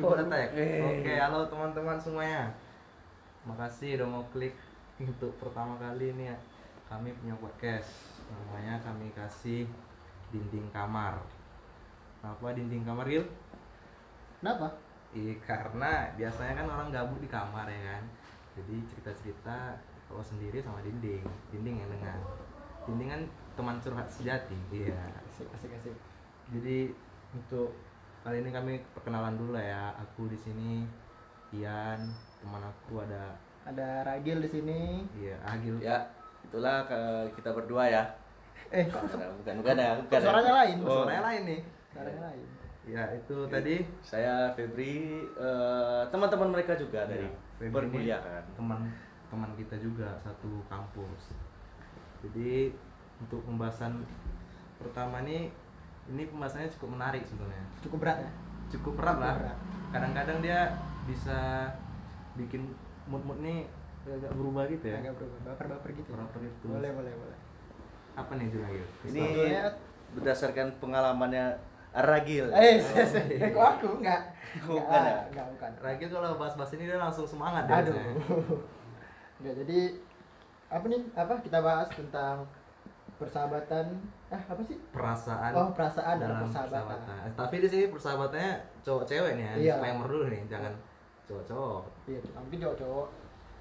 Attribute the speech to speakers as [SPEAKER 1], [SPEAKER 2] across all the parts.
[SPEAKER 1] Wih.
[SPEAKER 2] Oke, halo teman-teman semuanya. Makasih udah mau klik untuk pertama kali ini ya. Kami punya podcast. Namanya kami kasih dinding kamar. Apa dinding kamar Gil?
[SPEAKER 1] Kenapa?
[SPEAKER 2] Ih, karena biasanya kan orang gabut di kamar ya kan. Jadi cerita-cerita kalau sendiri sama dinding, dinding yang dengar. Dinding kan teman curhat sejati. Iya.
[SPEAKER 1] Asik, asik, asik.
[SPEAKER 2] Jadi untuk kali ini kami perkenalan dulu lah ya. Aku di sini Ian, teman aku ada
[SPEAKER 1] Ada Ragil di sini.
[SPEAKER 2] iya Agil.
[SPEAKER 3] Ya, itulah ke- kita berdua ya.
[SPEAKER 1] Eh, kok
[SPEAKER 3] Bukan, bukan, bukan ya, bukan. ya.
[SPEAKER 1] suaranya lain.
[SPEAKER 3] Oh.
[SPEAKER 2] Suaranya lain nih.
[SPEAKER 1] Suaranya lain.
[SPEAKER 2] Ya itu tadi
[SPEAKER 3] Saya Febri, eh, teman-teman mereka juga dari
[SPEAKER 2] Iya, Febri
[SPEAKER 3] perkuliahan.
[SPEAKER 2] teman teman kita juga satu kampus. Jadi untuk pembahasan pertama nih ini pembahasannya cukup menarik sebenarnya.
[SPEAKER 1] Cukup berat ya.
[SPEAKER 2] Cukup berat lah.
[SPEAKER 1] Berat.
[SPEAKER 2] Kadang-kadang dia bisa bikin mood-mood nih agak berubah gitu ya.
[SPEAKER 1] Agak berubah, baper-baper gitu. ya.
[SPEAKER 2] Baper-baper gitu.
[SPEAKER 1] Boleh, boleh, boleh.
[SPEAKER 2] Apa nih Jun Agil?
[SPEAKER 3] Ini
[SPEAKER 1] Judulnya?
[SPEAKER 3] berdasarkan pengalamannya Ragil.
[SPEAKER 1] Eh, ses- ses- eh, kok aku enggak?
[SPEAKER 3] Bukan
[SPEAKER 1] Enggak,
[SPEAKER 3] ya?
[SPEAKER 1] Enggak, bukan.
[SPEAKER 2] Ragil kalau bahas-bahas ini dia langsung semangat dia
[SPEAKER 1] Aduh.
[SPEAKER 2] biasanya.
[SPEAKER 1] Enggak, jadi apa nih? Apa kita bahas tentang persahabatan? Ah, apa sih?
[SPEAKER 2] Perasaan
[SPEAKER 1] Oh, perasaan dalam
[SPEAKER 2] dalam
[SPEAKER 1] persahabatan.
[SPEAKER 2] persahabatan. Tapi di sini persahabatannya cowok cewek nih ya.
[SPEAKER 1] Iya.
[SPEAKER 2] Disclaimer dulu nih, jangan cowok-cowok.
[SPEAKER 1] Iya, nah, mungkin cowok-cowok.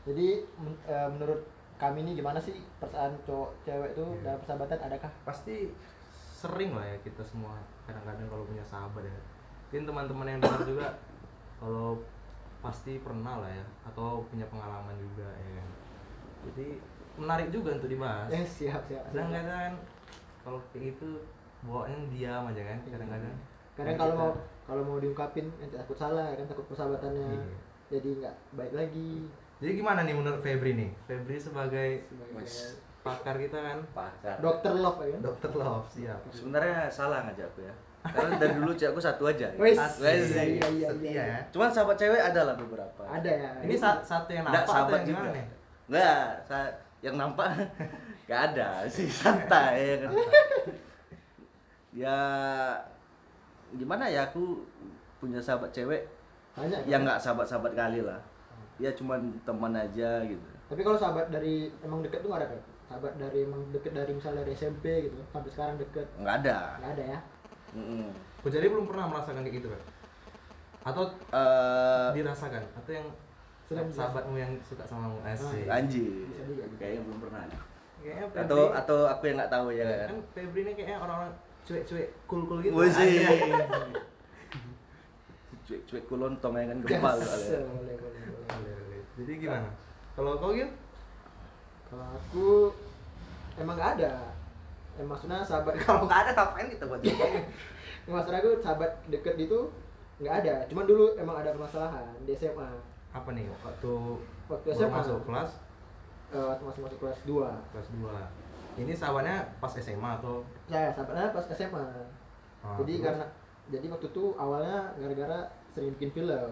[SPEAKER 1] Jadi men- eh, menurut kami ini gimana sih perasaan cowok cewek tuh
[SPEAKER 2] Iya.
[SPEAKER 1] dalam persahabatan adakah?
[SPEAKER 2] Pasti sering lah ya kita semua kadang-kadang kalau punya sahabat ya. Mungkin teman-teman yang dengar juga kalau pasti pernah lah ya atau punya pengalaman juga ya. kan. Jadi menarik juga untuk dibahas.
[SPEAKER 1] Eh, siap, siap. siap.
[SPEAKER 2] Kadang-kadang kan kalau kayak gitu bawaannya diam aja kan kadang-kadang.
[SPEAKER 1] kadang
[SPEAKER 2] Nah,
[SPEAKER 1] kalau
[SPEAKER 2] kita-
[SPEAKER 1] mau kalau mau diungkapin nanti takut salah kan takut persahabatannya
[SPEAKER 2] Iya.
[SPEAKER 1] jadi nggak baik lagi
[SPEAKER 2] Jadi gimana nih menurut Febri nih? Febri sebagai
[SPEAKER 1] sebagai
[SPEAKER 3] Mas.
[SPEAKER 2] pakar kita kan,
[SPEAKER 3] Pakar.
[SPEAKER 1] dokter love ya kan
[SPEAKER 2] dokter love siap.
[SPEAKER 3] Sebenarnya salah ngajak aku ya. Karena dari dulu cewek aku satu aja.
[SPEAKER 1] Wes.
[SPEAKER 2] Asik,
[SPEAKER 3] Wes.
[SPEAKER 1] Iya, iya,
[SPEAKER 2] setia
[SPEAKER 1] iya.
[SPEAKER 2] ya.
[SPEAKER 3] Cuman sahabat cewek ada lah beberapa.
[SPEAKER 1] ada ya
[SPEAKER 2] Ini sa- satu yang nampak
[SPEAKER 3] Nggak
[SPEAKER 2] atau
[SPEAKER 3] sahabat
[SPEAKER 2] yang
[SPEAKER 3] juga.
[SPEAKER 2] gimana nih?
[SPEAKER 3] Nggak, sa- yang nampak nggak ada sih santai ya kan. ya gimana ya aku punya sahabat cewek
[SPEAKER 1] banyak
[SPEAKER 3] yang
[SPEAKER 1] kan?
[SPEAKER 3] nggak sahabat-sahabat kali lah. Ya cuman teman aja gitu.
[SPEAKER 1] tapi kalau sahabat dari emang deket tuh nggak ada kan sahabat dari emang deket dari misalnya dari SMP gitu sampai sekarang deket
[SPEAKER 3] Nggak ada.
[SPEAKER 1] nggak ada ya
[SPEAKER 3] Mm-mm.
[SPEAKER 2] Oh, jadi belum pernah merasakan kayak gitu kan? Atau
[SPEAKER 3] Eh,
[SPEAKER 2] dirasakan? Atau yang
[SPEAKER 1] Sedang
[SPEAKER 2] sahabatmu yang suka sama kamu? Asik.
[SPEAKER 3] anjir.
[SPEAKER 1] Bisa juga.
[SPEAKER 3] Kayaknya belum pernah.
[SPEAKER 2] Ah, iya. Kayaknya Febri
[SPEAKER 3] Atau atau aku yang nggak tahu ya
[SPEAKER 2] kan
[SPEAKER 3] kan.
[SPEAKER 2] Febri ini kayaknya orang-orang cuek-cuek cool-cool gitu.
[SPEAKER 3] Wes.
[SPEAKER 2] Asik.
[SPEAKER 3] Cuek-cuek kulontong ya kan gempal
[SPEAKER 1] Yes,
[SPEAKER 3] soalnya.
[SPEAKER 1] boleh boleh boleh
[SPEAKER 2] Boleh, boleh. Jadi gimana? Kalau kau gitu?
[SPEAKER 1] kalau aku emang nggak ada Eh, maksudnya sahabat
[SPEAKER 2] Kalau nggak ada ngapain kita buat ini?
[SPEAKER 1] maksud aku sahabat deket itu nggak ada cuman dulu emang ada permasalahan di SMA
[SPEAKER 2] Apa nih waktu
[SPEAKER 1] Waktu
[SPEAKER 2] baru
[SPEAKER 1] SMA.
[SPEAKER 2] masuk kelas
[SPEAKER 1] eh, masuk masuk kelas 2
[SPEAKER 2] kelas 2 ini sahabatnya pas SMA atau
[SPEAKER 1] Ya, sahabatnya pas SMA.
[SPEAKER 2] Ah,
[SPEAKER 1] jadi
[SPEAKER 2] terus?
[SPEAKER 1] karena jadi waktu itu awalnya gara-gara sering bikin film.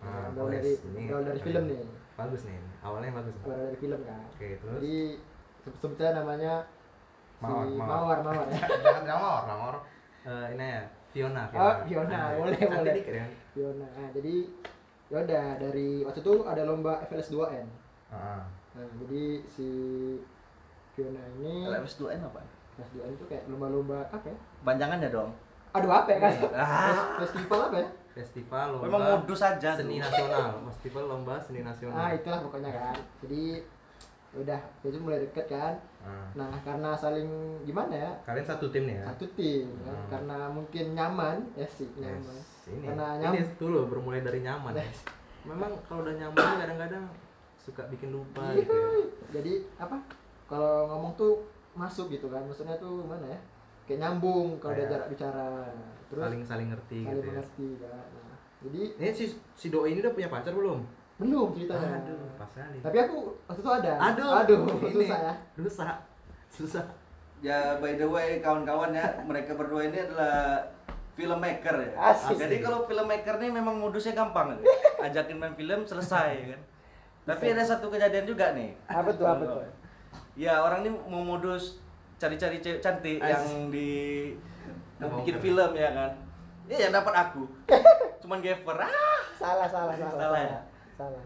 [SPEAKER 2] Ah,
[SPEAKER 1] Berawal
[SPEAKER 2] wes,
[SPEAKER 1] dari
[SPEAKER 2] ini
[SPEAKER 1] berawal dari
[SPEAKER 2] keren.
[SPEAKER 1] film nih.
[SPEAKER 2] bagus nih awalnya bagus nih.
[SPEAKER 1] Berawal dari film kan.
[SPEAKER 2] oke terus
[SPEAKER 1] Jadi se- sebutnya namanya
[SPEAKER 2] Mawar,
[SPEAKER 1] si Mawar,
[SPEAKER 2] Mawar.
[SPEAKER 1] Mawar ya.
[SPEAKER 2] jangan jamor jamor Eh, ini ya Fiona
[SPEAKER 1] Oh, Fiona,
[SPEAKER 2] Ah,
[SPEAKER 1] boleh,
[SPEAKER 2] cantik
[SPEAKER 1] boleh.
[SPEAKER 2] dikit ya
[SPEAKER 1] Fiona. Nah, jadi ya udah dari waktu itu ada lomba FLS 2N.
[SPEAKER 2] Ah, ah.
[SPEAKER 1] Nah, jadi si Fiona ini
[SPEAKER 3] Kalau S2N apa?
[SPEAKER 1] FLS 2N itu kayak lomba-lomba apa ya?
[SPEAKER 3] Panjangannya dong.
[SPEAKER 1] Aduh apa
[SPEAKER 2] Iya.
[SPEAKER 1] ya kan?
[SPEAKER 3] Ah.
[SPEAKER 1] Festival apa ya?
[SPEAKER 2] festival lomba
[SPEAKER 3] Memang modus aja tuh.
[SPEAKER 2] seni nasional festival lomba seni nasional
[SPEAKER 1] Ah itulah pokoknya kan. Jadi udah jadi mulai deket kan.
[SPEAKER 2] Ah.
[SPEAKER 1] Nah, karena saling gimana ya?
[SPEAKER 2] kalian satu tim nih ya
[SPEAKER 1] Satu tim kan?
[SPEAKER 2] Hmm.
[SPEAKER 1] karena mungkin nyaman, ya sih
[SPEAKER 2] Yes,
[SPEAKER 1] nyaman.
[SPEAKER 2] ini
[SPEAKER 1] Karena
[SPEAKER 2] ini
[SPEAKER 1] nyaman.
[SPEAKER 2] dulu bermulai dari nyaman
[SPEAKER 1] Yes.
[SPEAKER 2] memang kalau udah nyaman tuh kadang-kadang suka bikin lupa gitu ya.
[SPEAKER 1] Yuhuy. Jadi apa? Kalau ngomong tuh masuk gitu kan. Maksudnya tuh mana ya? Kayak nyambung kalau udah
[SPEAKER 2] Kayak
[SPEAKER 1] jarak bicara. Terus saling,
[SPEAKER 2] Iya. saling saling ngerti gitu ya.
[SPEAKER 1] mengerti kan. Nah, jadi
[SPEAKER 2] Ini si si doi ini udah punya pacar belum?
[SPEAKER 1] belum ceritanya.
[SPEAKER 2] Oh, pas kali.
[SPEAKER 1] Gitu. Tapi aku waktu itu ada.
[SPEAKER 2] Aduh,
[SPEAKER 1] aduh,
[SPEAKER 2] ini.
[SPEAKER 1] susah ya.
[SPEAKER 2] Susah. Susah.
[SPEAKER 3] Ya by the way kawan-kawan ya, mereka berdua ini adalah filmmaker ya.
[SPEAKER 1] Asik.
[SPEAKER 3] Jadi kalau filmmaker nih memang modusnya gampang. gitu. Ajakin main film selesai ya kan. Tapi ada satu kejadian juga nih.
[SPEAKER 1] Apa tuh? Apa tuh?
[SPEAKER 3] Ya orang nih mau modus cari-cari cewek cantik
[SPEAKER 2] Asik.
[SPEAKER 3] yang di mau
[SPEAKER 2] Ngomong
[SPEAKER 3] bikin
[SPEAKER 2] kan.
[SPEAKER 3] film ya kan. Ya yang dapat Iya, aku. cuman gaper ah
[SPEAKER 1] salah salah salah
[SPEAKER 3] Salah
[SPEAKER 1] salah
[SPEAKER 3] ya?
[SPEAKER 1] salah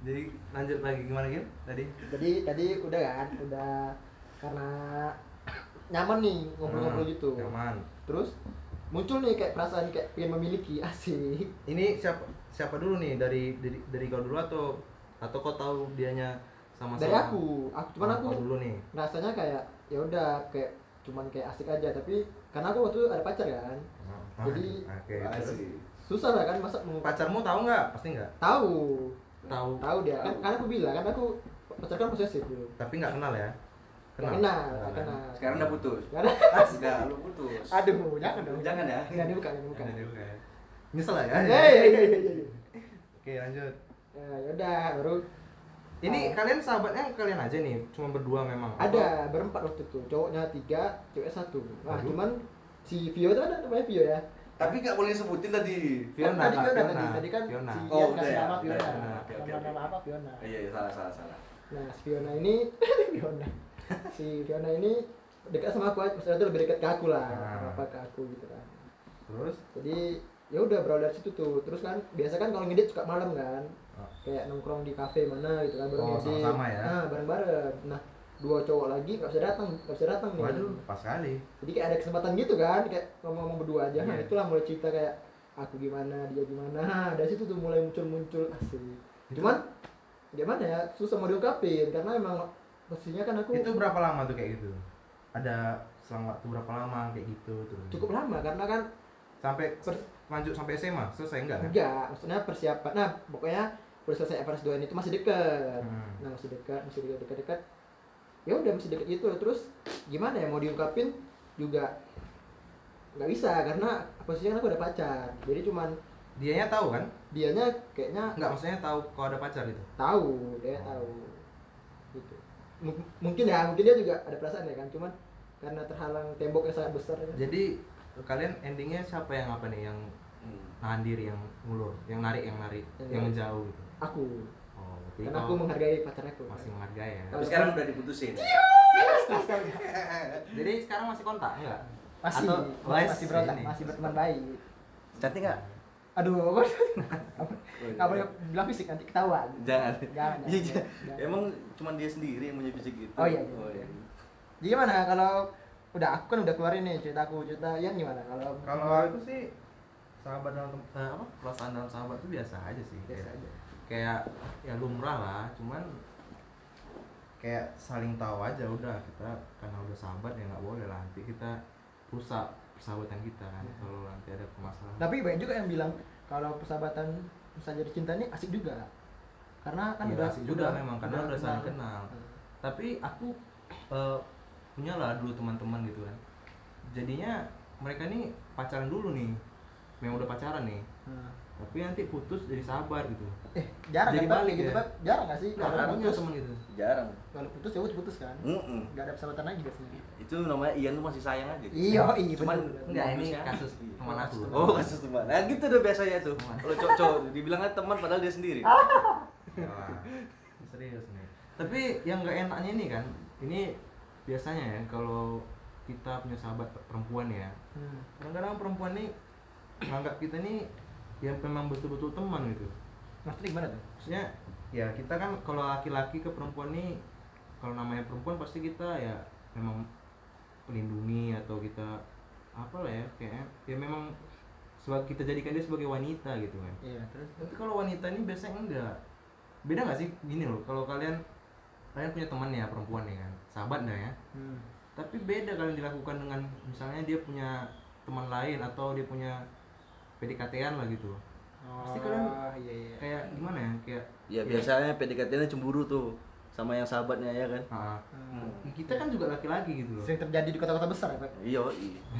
[SPEAKER 2] jadi lanjut lagi gimana Gil tadi
[SPEAKER 1] jadi tadi udah kan udah karena nyaman nih ngobrol-ngobrol
[SPEAKER 2] Hmm,
[SPEAKER 1] gitu
[SPEAKER 2] nyaman
[SPEAKER 1] terus muncul nih kayak perasaan kayak pengen memiliki asik
[SPEAKER 2] ini siapa siapa dulu nih dari dari, dari kau dulu atau atau kau tahu dianya sama
[SPEAKER 1] dari aku aku cuman
[SPEAKER 2] Nah,
[SPEAKER 1] aku kan
[SPEAKER 2] kau dulu nih
[SPEAKER 1] rasanya kayak ya udah kayak cuman kayak asik aja tapi karena aku waktu itu ada pacar kan
[SPEAKER 2] Ah,
[SPEAKER 1] Jadi-
[SPEAKER 2] oke terus.
[SPEAKER 1] susah lah kan masa mau
[SPEAKER 2] pacarmu tahu nggak pasti nggak
[SPEAKER 1] tahu
[SPEAKER 2] tahu
[SPEAKER 1] tahu dia kan karena aku bilang kan aku pacar kan posesif dulu
[SPEAKER 2] tapi nggak kenal ya
[SPEAKER 1] kenal kenal,
[SPEAKER 2] Nggak
[SPEAKER 1] nggak kenal.
[SPEAKER 3] sekarang udah putus
[SPEAKER 1] Karena
[SPEAKER 3] udah lu putus
[SPEAKER 1] aduh jangan dong
[SPEAKER 3] jangan ya
[SPEAKER 1] jangan dibuka jangan dibuka
[SPEAKER 2] Jangan dibuka ya. nyesel ya
[SPEAKER 1] Hei, hei, hei, hei.
[SPEAKER 2] oke lanjut
[SPEAKER 1] Ya, yaudah baru
[SPEAKER 2] ini
[SPEAKER 1] Ah.
[SPEAKER 2] kalian sahabatnya kalian aja nih cuma berdua memang
[SPEAKER 1] ada berempat waktu itu cowoknya tiga cewek satu nah
[SPEAKER 2] Aduh.
[SPEAKER 1] cuman si Vio itu ada namanya Vio ya
[SPEAKER 3] tapi nggak boleh sebutin tadi
[SPEAKER 2] Fiona,
[SPEAKER 1] tadi Fiona,
[SPEAKER 2] Fiona.
[SPEAKER 1] tadi tadi kan
[SPEAKER 2] Fiona.
[SPEAKER 1] si
[SPEAKER 3] Oh,
[SPEAKER 1] Ian
[SPEAKER 3] udah
[SPEAKER 1] kasih
[SPEAKER 3] ya,
[SPEAKER 1] nama
[SPEAKER 3] udah,
[SPEAKER 1] Fiona
[SPEAKER 3] Fiona. Oke, oke,
[SPEAKER 1] nama nama
[SPEAKER 3] oke.
[SPEAKER 1] apa Fiona
[SPEAKER 3] Ah, iya iya, salah salah salah
[SPEAKER 1] nah si Fiona ini Fiona si Fiona ini dekat sama aku aja, maksudnya itu lebih dekat ke aku lah
[SPEAKER 2] Ah.
[SPEAKER 1] apa ke aku gitu kan
[SPEAKER 2] terus
[SPEAKER 1] jadi ya udah berawal dari situ tuh terus kan biasa kan kalau ngedit suka malam kan
[SPEAKER 2] Ah.
[SPEAKER 1] kayak nongkrong di kafe mana gitu kan bareng
[SPEAKER 2] Oh,
[SPEAKER 1] ngedit.
[SPEAKER 2] sama-sama ya.
[SPEAKER 1] nah bareng bareng nah dua cowok lagi nggak bisa datang nggak bisa datang nih
[SPEAKER 2] waduh pas kali
[SPEAKER 1] jadi kayak ada kesempatan gitu kan kayak ngomong-ngomong berdua aja nah
[SPEAKER 2] Iya.
[SPEAKER 1] itulah mulai cerita kayak aku gimana dia gimana Nah, dari situ tuh mulai muncul-muncul asli
[SPEAKER 2] Itu-
[SPEAKER 1] cuman gimana ya susah mau diungkapin karena emang pastinya kan aku
[SPEAKER 2] itu berapa lama tuh kayak gitu ada selang waktu berapa lama kayak gitu terus
[SPEAKER 1] cukup lama karena kan
[SPEAKER 2] sampai
[SPEAKER 1] Per-
[SPEAKER 2] lanjut sampai SMA selesai enggak kan
[SPEAKER 1] enggak maksudnya persiapan nah pokoknya udah selesai FRS 2 itu masih dekat
[SPEAKER 2] Hmm.
[SPEAKER 1] nah masih dekat masih dekat dekat dekat ya udah masih dekat itu terus gimana ya mau diungkapin juga nggak bisa karena posisinya kan aku ada pacar jadi cuman
[SPEAKER 2] dianya tahu kan
[SPEAKER 1] dianya kayaknya
[SPEAKER 2] enggak maksudnya tahu kau ada pacar gitu
[SPEAKER 1] tahu dia
[SPEAKER 2] Oh.
[SPEAKER 1] tahu gitu M- mungkin ya mungkin dia juga ada perasaan ya kan cuman karena terhalang tembok yang sangat besar ya.
[SPEAKER 2] jadi kalian endingnya siapa yang apa nih yang
[SPEAKER 3] Hmm.
[SPEAKER 2] nahan diri yang ngulur yang narik yang narik
[SPEAKER 1] Yang
[SPEAKER 2] yang
[SPEAKER 1] narik.
[SPEAKER 2] menjauh gitu
[SPEAKER 1] aku
[SPEAKER 2] oh berarti
[SPEAKER 1] Iya. karena
[SPEAKER 2] kau
[SPEAKER 1] aku menghargai pacar aku
[SPEAKER 2] masih menghargai ya
[SPEAKER 1] Kalau-
[SPEAKER 3] tapi sekarang udah diputusin
[SPEAKER 2] jadi sekarang masih kontak ya enggak
[SPEAKER 1] masih
[SPEAKER 2] Atau wise
[SPEAKER 1] masih berontak
[SPEAKER 2] ini?
[SPEAKER 1] masih berteman baik
[SPEAKER 3] cantik nggak
[SPEAKER 1] aduh apa
[SPEAKER 2] Gitu.
[SPEAKER 1] nggak boleh bilang fisik nanti ketahuan
[SPEAKER 3] Oh, iya. jangan
[SPEAKER 1] Jangan,
[SPEAKER 3] Iya,
[SPEAKER 1] jangan,
[SPEAKER 3] jangan.
[SPEAKER 1] jangan.
[SPEAKER 3] emang cuma dia sendiri yang punya fisik gitu
[SPEAKER 1] Oh, iya, iya. jadi gimana kalau udah aku kan udah keluarin nih cerita aku cerita Ian gimana kalau
[SPEAKER 2] kalau aku sih sahabat dalam tem- eh, apa perasaan dalam sahabat tuh biasa aja sih
[SPEAKER 1] biasa
[SPEAKER 2] kayak,
[SPEAKER 1] aja
[SPEAKER 2] kayak ya lumrah lah cuman kayak saling tahu aja udah kita karena udah sahabat ya nggak boleh lah nanti kita rusak persahabatan kita kan
[SPEAKER 1] Iya. Nah,
[SPEAKER 2] kalau nanti ada permasalahan
[SPEAKER 1] tapi banyak juga yang bilang kalau persahabatan bisa jadi cinta ini asik juga karena kan
[SPEAKER 2] Iya,
[SPEAKER 1] udah
[SPEAKER 2] asik juga memang, karena udah saling kenal. tapi aku eh, punya lah dulu teman-teman gitu kan jadinya mereka nih pacaran dulu nih memang udah pacaran nih
[SPEAKER 1] Hmm.
[SPEAKER 2] tapi nanti putus jadi sahabat gitu
[SPEAKER 1] eh jarang
[SPEAKER 2] Jadi
[SPEAKER 1] kan Bang?
[SPEAKER 2] balik
[SPEAKER 1] gitu
[SPEAKER 2] ya?
[SPEAKER 1] kan jarang gak sih kalau
[SPEAKER 2] Nah, aku punya
[SPEAKER 1] putus
[SPEAKER 2] teman gitu
[SPEAKER 3] jarang
[SPEAKER 1] kalau putus ya udah putus kan
[SPEAKER 3] Mm-mm.
[SPEAKER 1] nggak ada persahabatan lagi biasanya
[SPEAKER 3] itu namanya Ian tuh masih sayang aja
[SPEAKER 1] iya iya
[SPEAKER 3] Iya. Cuman-
[SPEAKER 1] bener-bener.
[SPEAKER 2] enggak ini
[SPEAKER 3] Maksudnya?
[SPEAKER 2] kasus
[SPEAKER 3] Iya.
[SPEAKER 2] teman aku
[SPEAKER 3] oh kasus teman nah gitu udah biasanya tuh kalau cowok-cowok tuh, dibilangnya teman padahal dia sendiri
[SPEAKER 1] Ah.
[SPEAKER 2] Yalah, serius nih tapi yang nggak enaknya ini kan ini biasanya ya kalau kita punya sahabat perempuan ya
[SPEAKER 1] Hmm.
[SPEAKER 2] kadang-kadang perempuan nih menganggap kita nih yang memang betul-betul teman gitu
[SPEAKER 1] maksudnya gimana tuh
[SPEAKER 2] maksudnya ya kita kan kalau laki-laki ke perempuan nih kalau namanya perempuan pasti kita ya memang pelindungi atau kita apa lah ya kayaknya ya memang sebagai kita jadikan dia sebagai wanita gitu kan
[SPEAKER 1] iya terus
[SPEAKER 2] tapi kalau wanita ini biasanya enggak beda nggak sih gini loh kalau kalian kalian punya teman ya perempuan ya kan sahabat dah ya
[SPEAKER 1] hmm.
[SPEAKER 2] tapi beda kalian dilakukan dengan misalnya dia punya teman lain atau dia punya PDKT-an lah gitu Pasti kalian-
[SPEAKER 1] Oh, iya iya
[SPEAKER 2] kayak gimana ya kayak
[SPEAKER 3] ya biasanya PDKT-nya cemburu tuh sama yang sahabatnya ya kan
[SPEAKER 2] Ah,
[SPEAKER 1] Hmm.
[SPEAKER 2] kita kan juga laki-laki gitu loh
[SPEAKER 1] sering terjadi di kota-kota besar ya pak
[SPEAKER 3] iya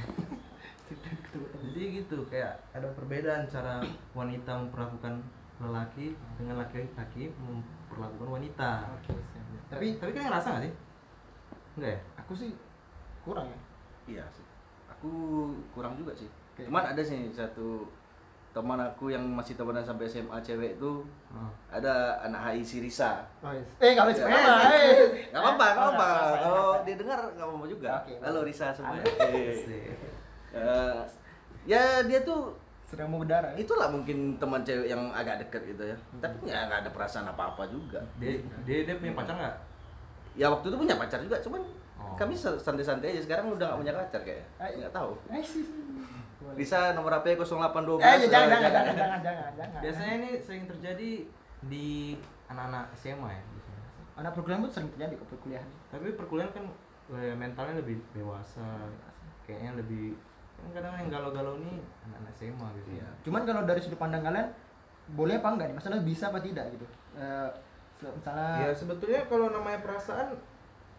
[SPEAKER 1] Sering terjadi di kota-kota besar.
[SPEAKER 2] jadi gitu kayak ada perbedaan cara wanita memperlakukan lelaki dengan laki-laki memperlakukan wanita
[SPEAKER 1] Ah, oke siap. tapi
[SPEAKER 2] tapi tapi kalian ngerasa nggak sih enggak ya
[SPEAKER 1] aku sih kurang ya
[SPEAKER 3] iya sih aku kurang juga sih
[SPEAKER 1] Oke.
[SPEAKER 3] cuman ada sih satu teman aku yang masih temenan sampai SMA cewek itu
[SPEAKER 2] Ah.
[SPEAKER 3] ada anak HI Sirisa
[SPEAKER 1] oh, yes. eh kalau
[SPEAKER 3] Ya,
[SPEAKER 1] itu
[SPEAKER 3] eh,
[SPEAKER 1] apa eh
[SPEAKER 3] eh, eh. Nggak apa-apa, nggak apa-apa.
[SPEAKER 1] apa-apa,
[SPEAKER 3] Kalau
[SPEAKER 1] nggak apa-apa.
[SPEAKER 3] dia dengar nggak apa-apa juga.
[SPEAKER 1] Oke,
[SPEAKER 3] Halo
[SPEAKER 2] Iya,
[SPEAKER 1] baik.
[SPEAKER 3] Risa semuanya.
[SPEAKER 2] Asik.
[SPEAKER 3] Eh, ya dia tuh
[SPEAKER 1] sedang mau berdarah
[SPEAKER 3] itulah mungkin teman cewek yang agak deket gitu ya tapi nggak nggak ada perasaan apa apa juga
[SPEAKER 2] dia dia, dia punya pacar nggak
[SPEAKER 3] ya waktu itu punya pacar juga cuman
[SPEAKER 2] Oh.
[SPEAKER 3] kami se- santai-santai aja sekarang udah nggak punya pacar kayaknya
[SPEAKER 1] Ay.
[SPEAKER 3] nggak tahu
[SPEAKER 1] eh sih
[SPEAKER 3] Lisa nomor HP 0812
[SPEAKER 1] eh
[SPEAKER 3] eh,
[SPEAKER 1] jangan jangan jangan jangan jangan jangan
[SPEAKER 2] biasanya ini sering terjadi di anak-anak SMA ya biasanya.
[SPEAKER 1] anak perkuliahan tuh sering terjadi ke perkuliahan
[SPEAKER 2] tapi perkuliahan kan eh, mentalnya lebih dewasa kayaknya lebih kan kadang yang galau-galau nih anak-anak SMA gitu ya
[SPEAKER 3] Iya.
[SPEAKER 1] cuman kalau dari sudut pandang kalian boleh apa enggak nih masalah bisa apa tidak gitu Eh,
[SPEAKER 3] Iya,
[SPEAKER 2] ya
[SPEAKER 1] misalnya
[SPEAKER 2] sebetulnya kalau namanya perasaan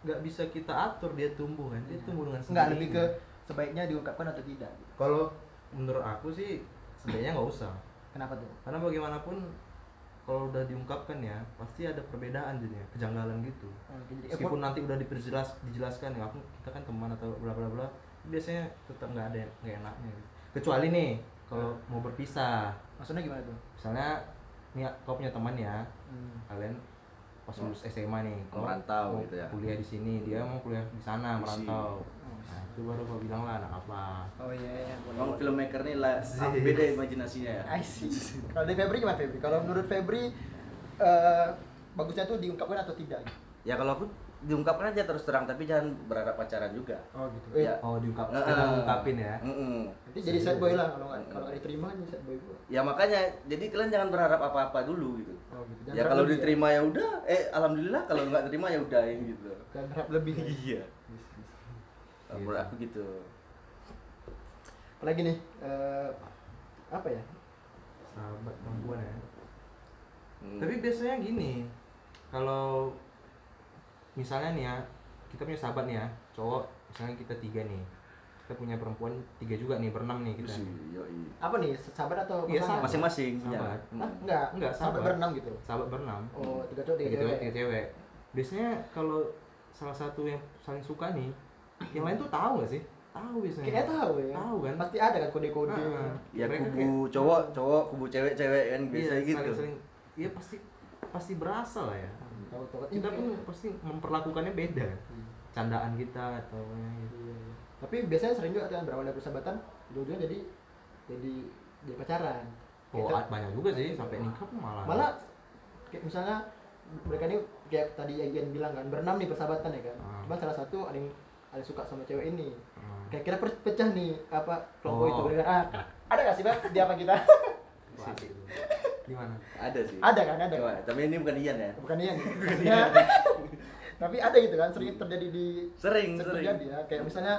[SPEAKER 2] nggak bisa kita atur dia tumbuh kan dia tumbuh dengan
[SPEAKER 1] enggak
[SPEAKER 2] sendirinya.
[SPEAKER 1] lebih ke sebaiknya diungkapkan atau tidak gitu.
[SPEAKER 2] kalau menurut aku sih sebaiknya nggak usah
[SPEAKER 1] kenapa tuh
[SPEAKER 2] karena bagaimanapun kalau udah diungkapkan ya pasti ada perbedaan jadinya kejanggalan gitu
[SPEAKER 1] Oh, jadi effort-
[SPEAKER 2] meskipun nanti udah diperjelas dijelaskan ya aku kita kan teman atau bla bla bla biasanya tetap nggak ada yang nggak enaknya gitu. kecuali nih
[SPEAKER 3] Nah.
[SPEAKER 2] kalau mau berpisah
[SPEAKER 1] maksudnya gimana tuh
[SPEAKER 2] misalnya nih kau punya teman ya
[SPEAKER 1] Hmm.
[SPEAKER 2] kalian pas lulus SMA nih kau
[SPEAKER 3] Hmm.
[SPEAKER 2] mau
[SPEAKER 3] Merantau gitu ya.
[SPEAKER 2] kuliah di sini dia mau kuliah di sana
[SPEAKER 3] Di sini.
[SPEAKER 2] merantau
[SPEAKER 1] Oh,
[SPEAKER 2] nah itu baru kau bilang lah anak apa
[SPEAKER 1] oh iya iya
[SPEAKER 3] Emang filmmaker nih lah ah, beda imajinasinya ya
[SPEAKER 1] I see. Kalau dari Febri gimana Febri? Kalau menurut Febri eh, bagusnya tuh diungkapkan atau tidak? gitu?
[SPEAKER 3] ya kalau aku diungkapkan aja terus terang tapi jangan berharap pacaran juga
[SPEAKER 1] Oh gitu.
[SPEAKER 3] Ya.
[SPEAKER 2] oh diungkap
[SPEAKER 3] Eh,
[SPEAKER 2] sekedar
[SPEAKER 3] eh.
[SPEAKER 2] ngungkapin ya
[SPEAKER 3] Mm-mm.
[SPEAKER 1] Nanti jadi sad boy lah kalau nggak kalau
[SPEAKER 3] Iya.
[SPEAKER 1] nggak diterima kan jadi sad boy gua.
[SPEAKER 3] ya makanya jadi kalian jangan berharap apa-apa dulu gitu
[SPEAKER 1] Oh gitu.
[SPEAKER 3] ya
[SPEAKER 1] harap
[SPEAKER 3] kalau
[SPEAKER 1] lebih
[SPEAKER 3] diterima ya udah eh alhamdulillah kalau nggak terima ya udahin gitu
[SPEAKER 1] ya. Jangan harap lebih.
[SPEAKER 3] iya
[SPEAKER 1] Yes, yes.
[SPEAKER 3] Kalau
[SPEAKER 2] Iya.
[SPEAKER 3] menurut aku gitu
[SPEAKER 1] Apalagi nih eh, apa ya?
[SPEAKER 2] sahabat perempuan ya
[SPEAKER 3] Hmm.
[SPEAKER 2] tapi biasanya gini kalau misalnya nih ya kita punya sahabat nih ya cowok misalnya kita tiga nih kita punya perempuan tiga juga nih berenam nih kita
[SPEAKER 3] Terus, yoi.
[SPEAKER 1] Apa nih? Sahabat atau
[SPEAKER 2] Iya,
[SPEAKER 1] pasangan?
[SPEAKER 2] sahabat.
[SPEAKER 3] masing-masing punya.
[SPEAKER 1] Hah?
[SPEAKER 2] Sahabat.
[SPEAKER 3] Mm.
[SPEAKER 1] Enggak,
[SPEAKER 2] Nggak,
[SPEAKER 1] enggak sahabat,
[SPEAKER 2] sahabat.
[SPEAKER 1] berenam gitu.
[SPEAKER 2] sahabat berenam
[SPEAKER 1] Oh, tiga cowok tiga
[SPEAKER 2] tiga cewek
[SPEAKER 1] cewek.
[SPEAKER 2] tiga cewek biasanya kalau salah satu yang saling suka nih yang lain tuh tahu nggak sih tahu biasanya
[SPEAKER 1] Kayaknya tahu ya.
[SPEAKER 2] Tahu kan?
[SPEAKER 1] Pasti ada kan kode-kode.
[SPEAKER 2] Nah,
[SPEAKER 3] ya
[SPEAKER 2] mereka
[SPEAKER 3] kubu
[SPEAKER 2] kayak-
[SPEAKER 3] cowok cowok kubu cewek cewek kan
[SPEAKER 2] iya,
[SPEAKER 3] biasa gitu
[SPEAKER 2] saling-saling- iya pasti pasti berasa lah ya
[SPEAKER 1] Tahu tahu.
[SPEAKER 2] kita pun pasti memperlakukannya beda candaan kita atau apa gitu
[SPEAKER 1] Iya, iya. Tapi biasanya sering juga tuh yang berawal dari persahabatan, ujung-ujungnya jadi jadi jadi pacaran.
[SPEAKER 2] oh
[SPEAKER 1] Kita-
[SPEAKER 2] banyak juga sih sampai nikah pun malah
[SPEAKER 1] malah kayak misalnya mereka ini kayak tadi Ian bilang kan berenam nih persahabatan ya kan.
[SPEAKER 2] Hmm.
[SPEAKER 1] Cuma salah satu ada yang ada yang suka sama cewek ini.
[SPEAKER 2] Hmm.
[SPEAKER 1] Kira-kira per- pecah nih apa kelompok
[SPEAKER 2] Oh.
[SPEAKER 1] itu Kira-kira, ah, ada gak sih bang di apa kita?
[SPEAKER 2] Wah, gitu. gimana
[SPEAKER 3] ada sih
[SPEAKER 1] ada kan ada.
[SPEAKER 3] Cuma,
[SPEAKER 1] Kan?
[SPEAKER 3] tapi ini bukan Ian ya
[SPEAKER 1] Bukan Ian. gitu. Maksudnya, tapi ada gitu kan sering terjadi di sering
[SPEAKER 3] sering sering
[SPEAKER 1] terjadi ya kayak misalnya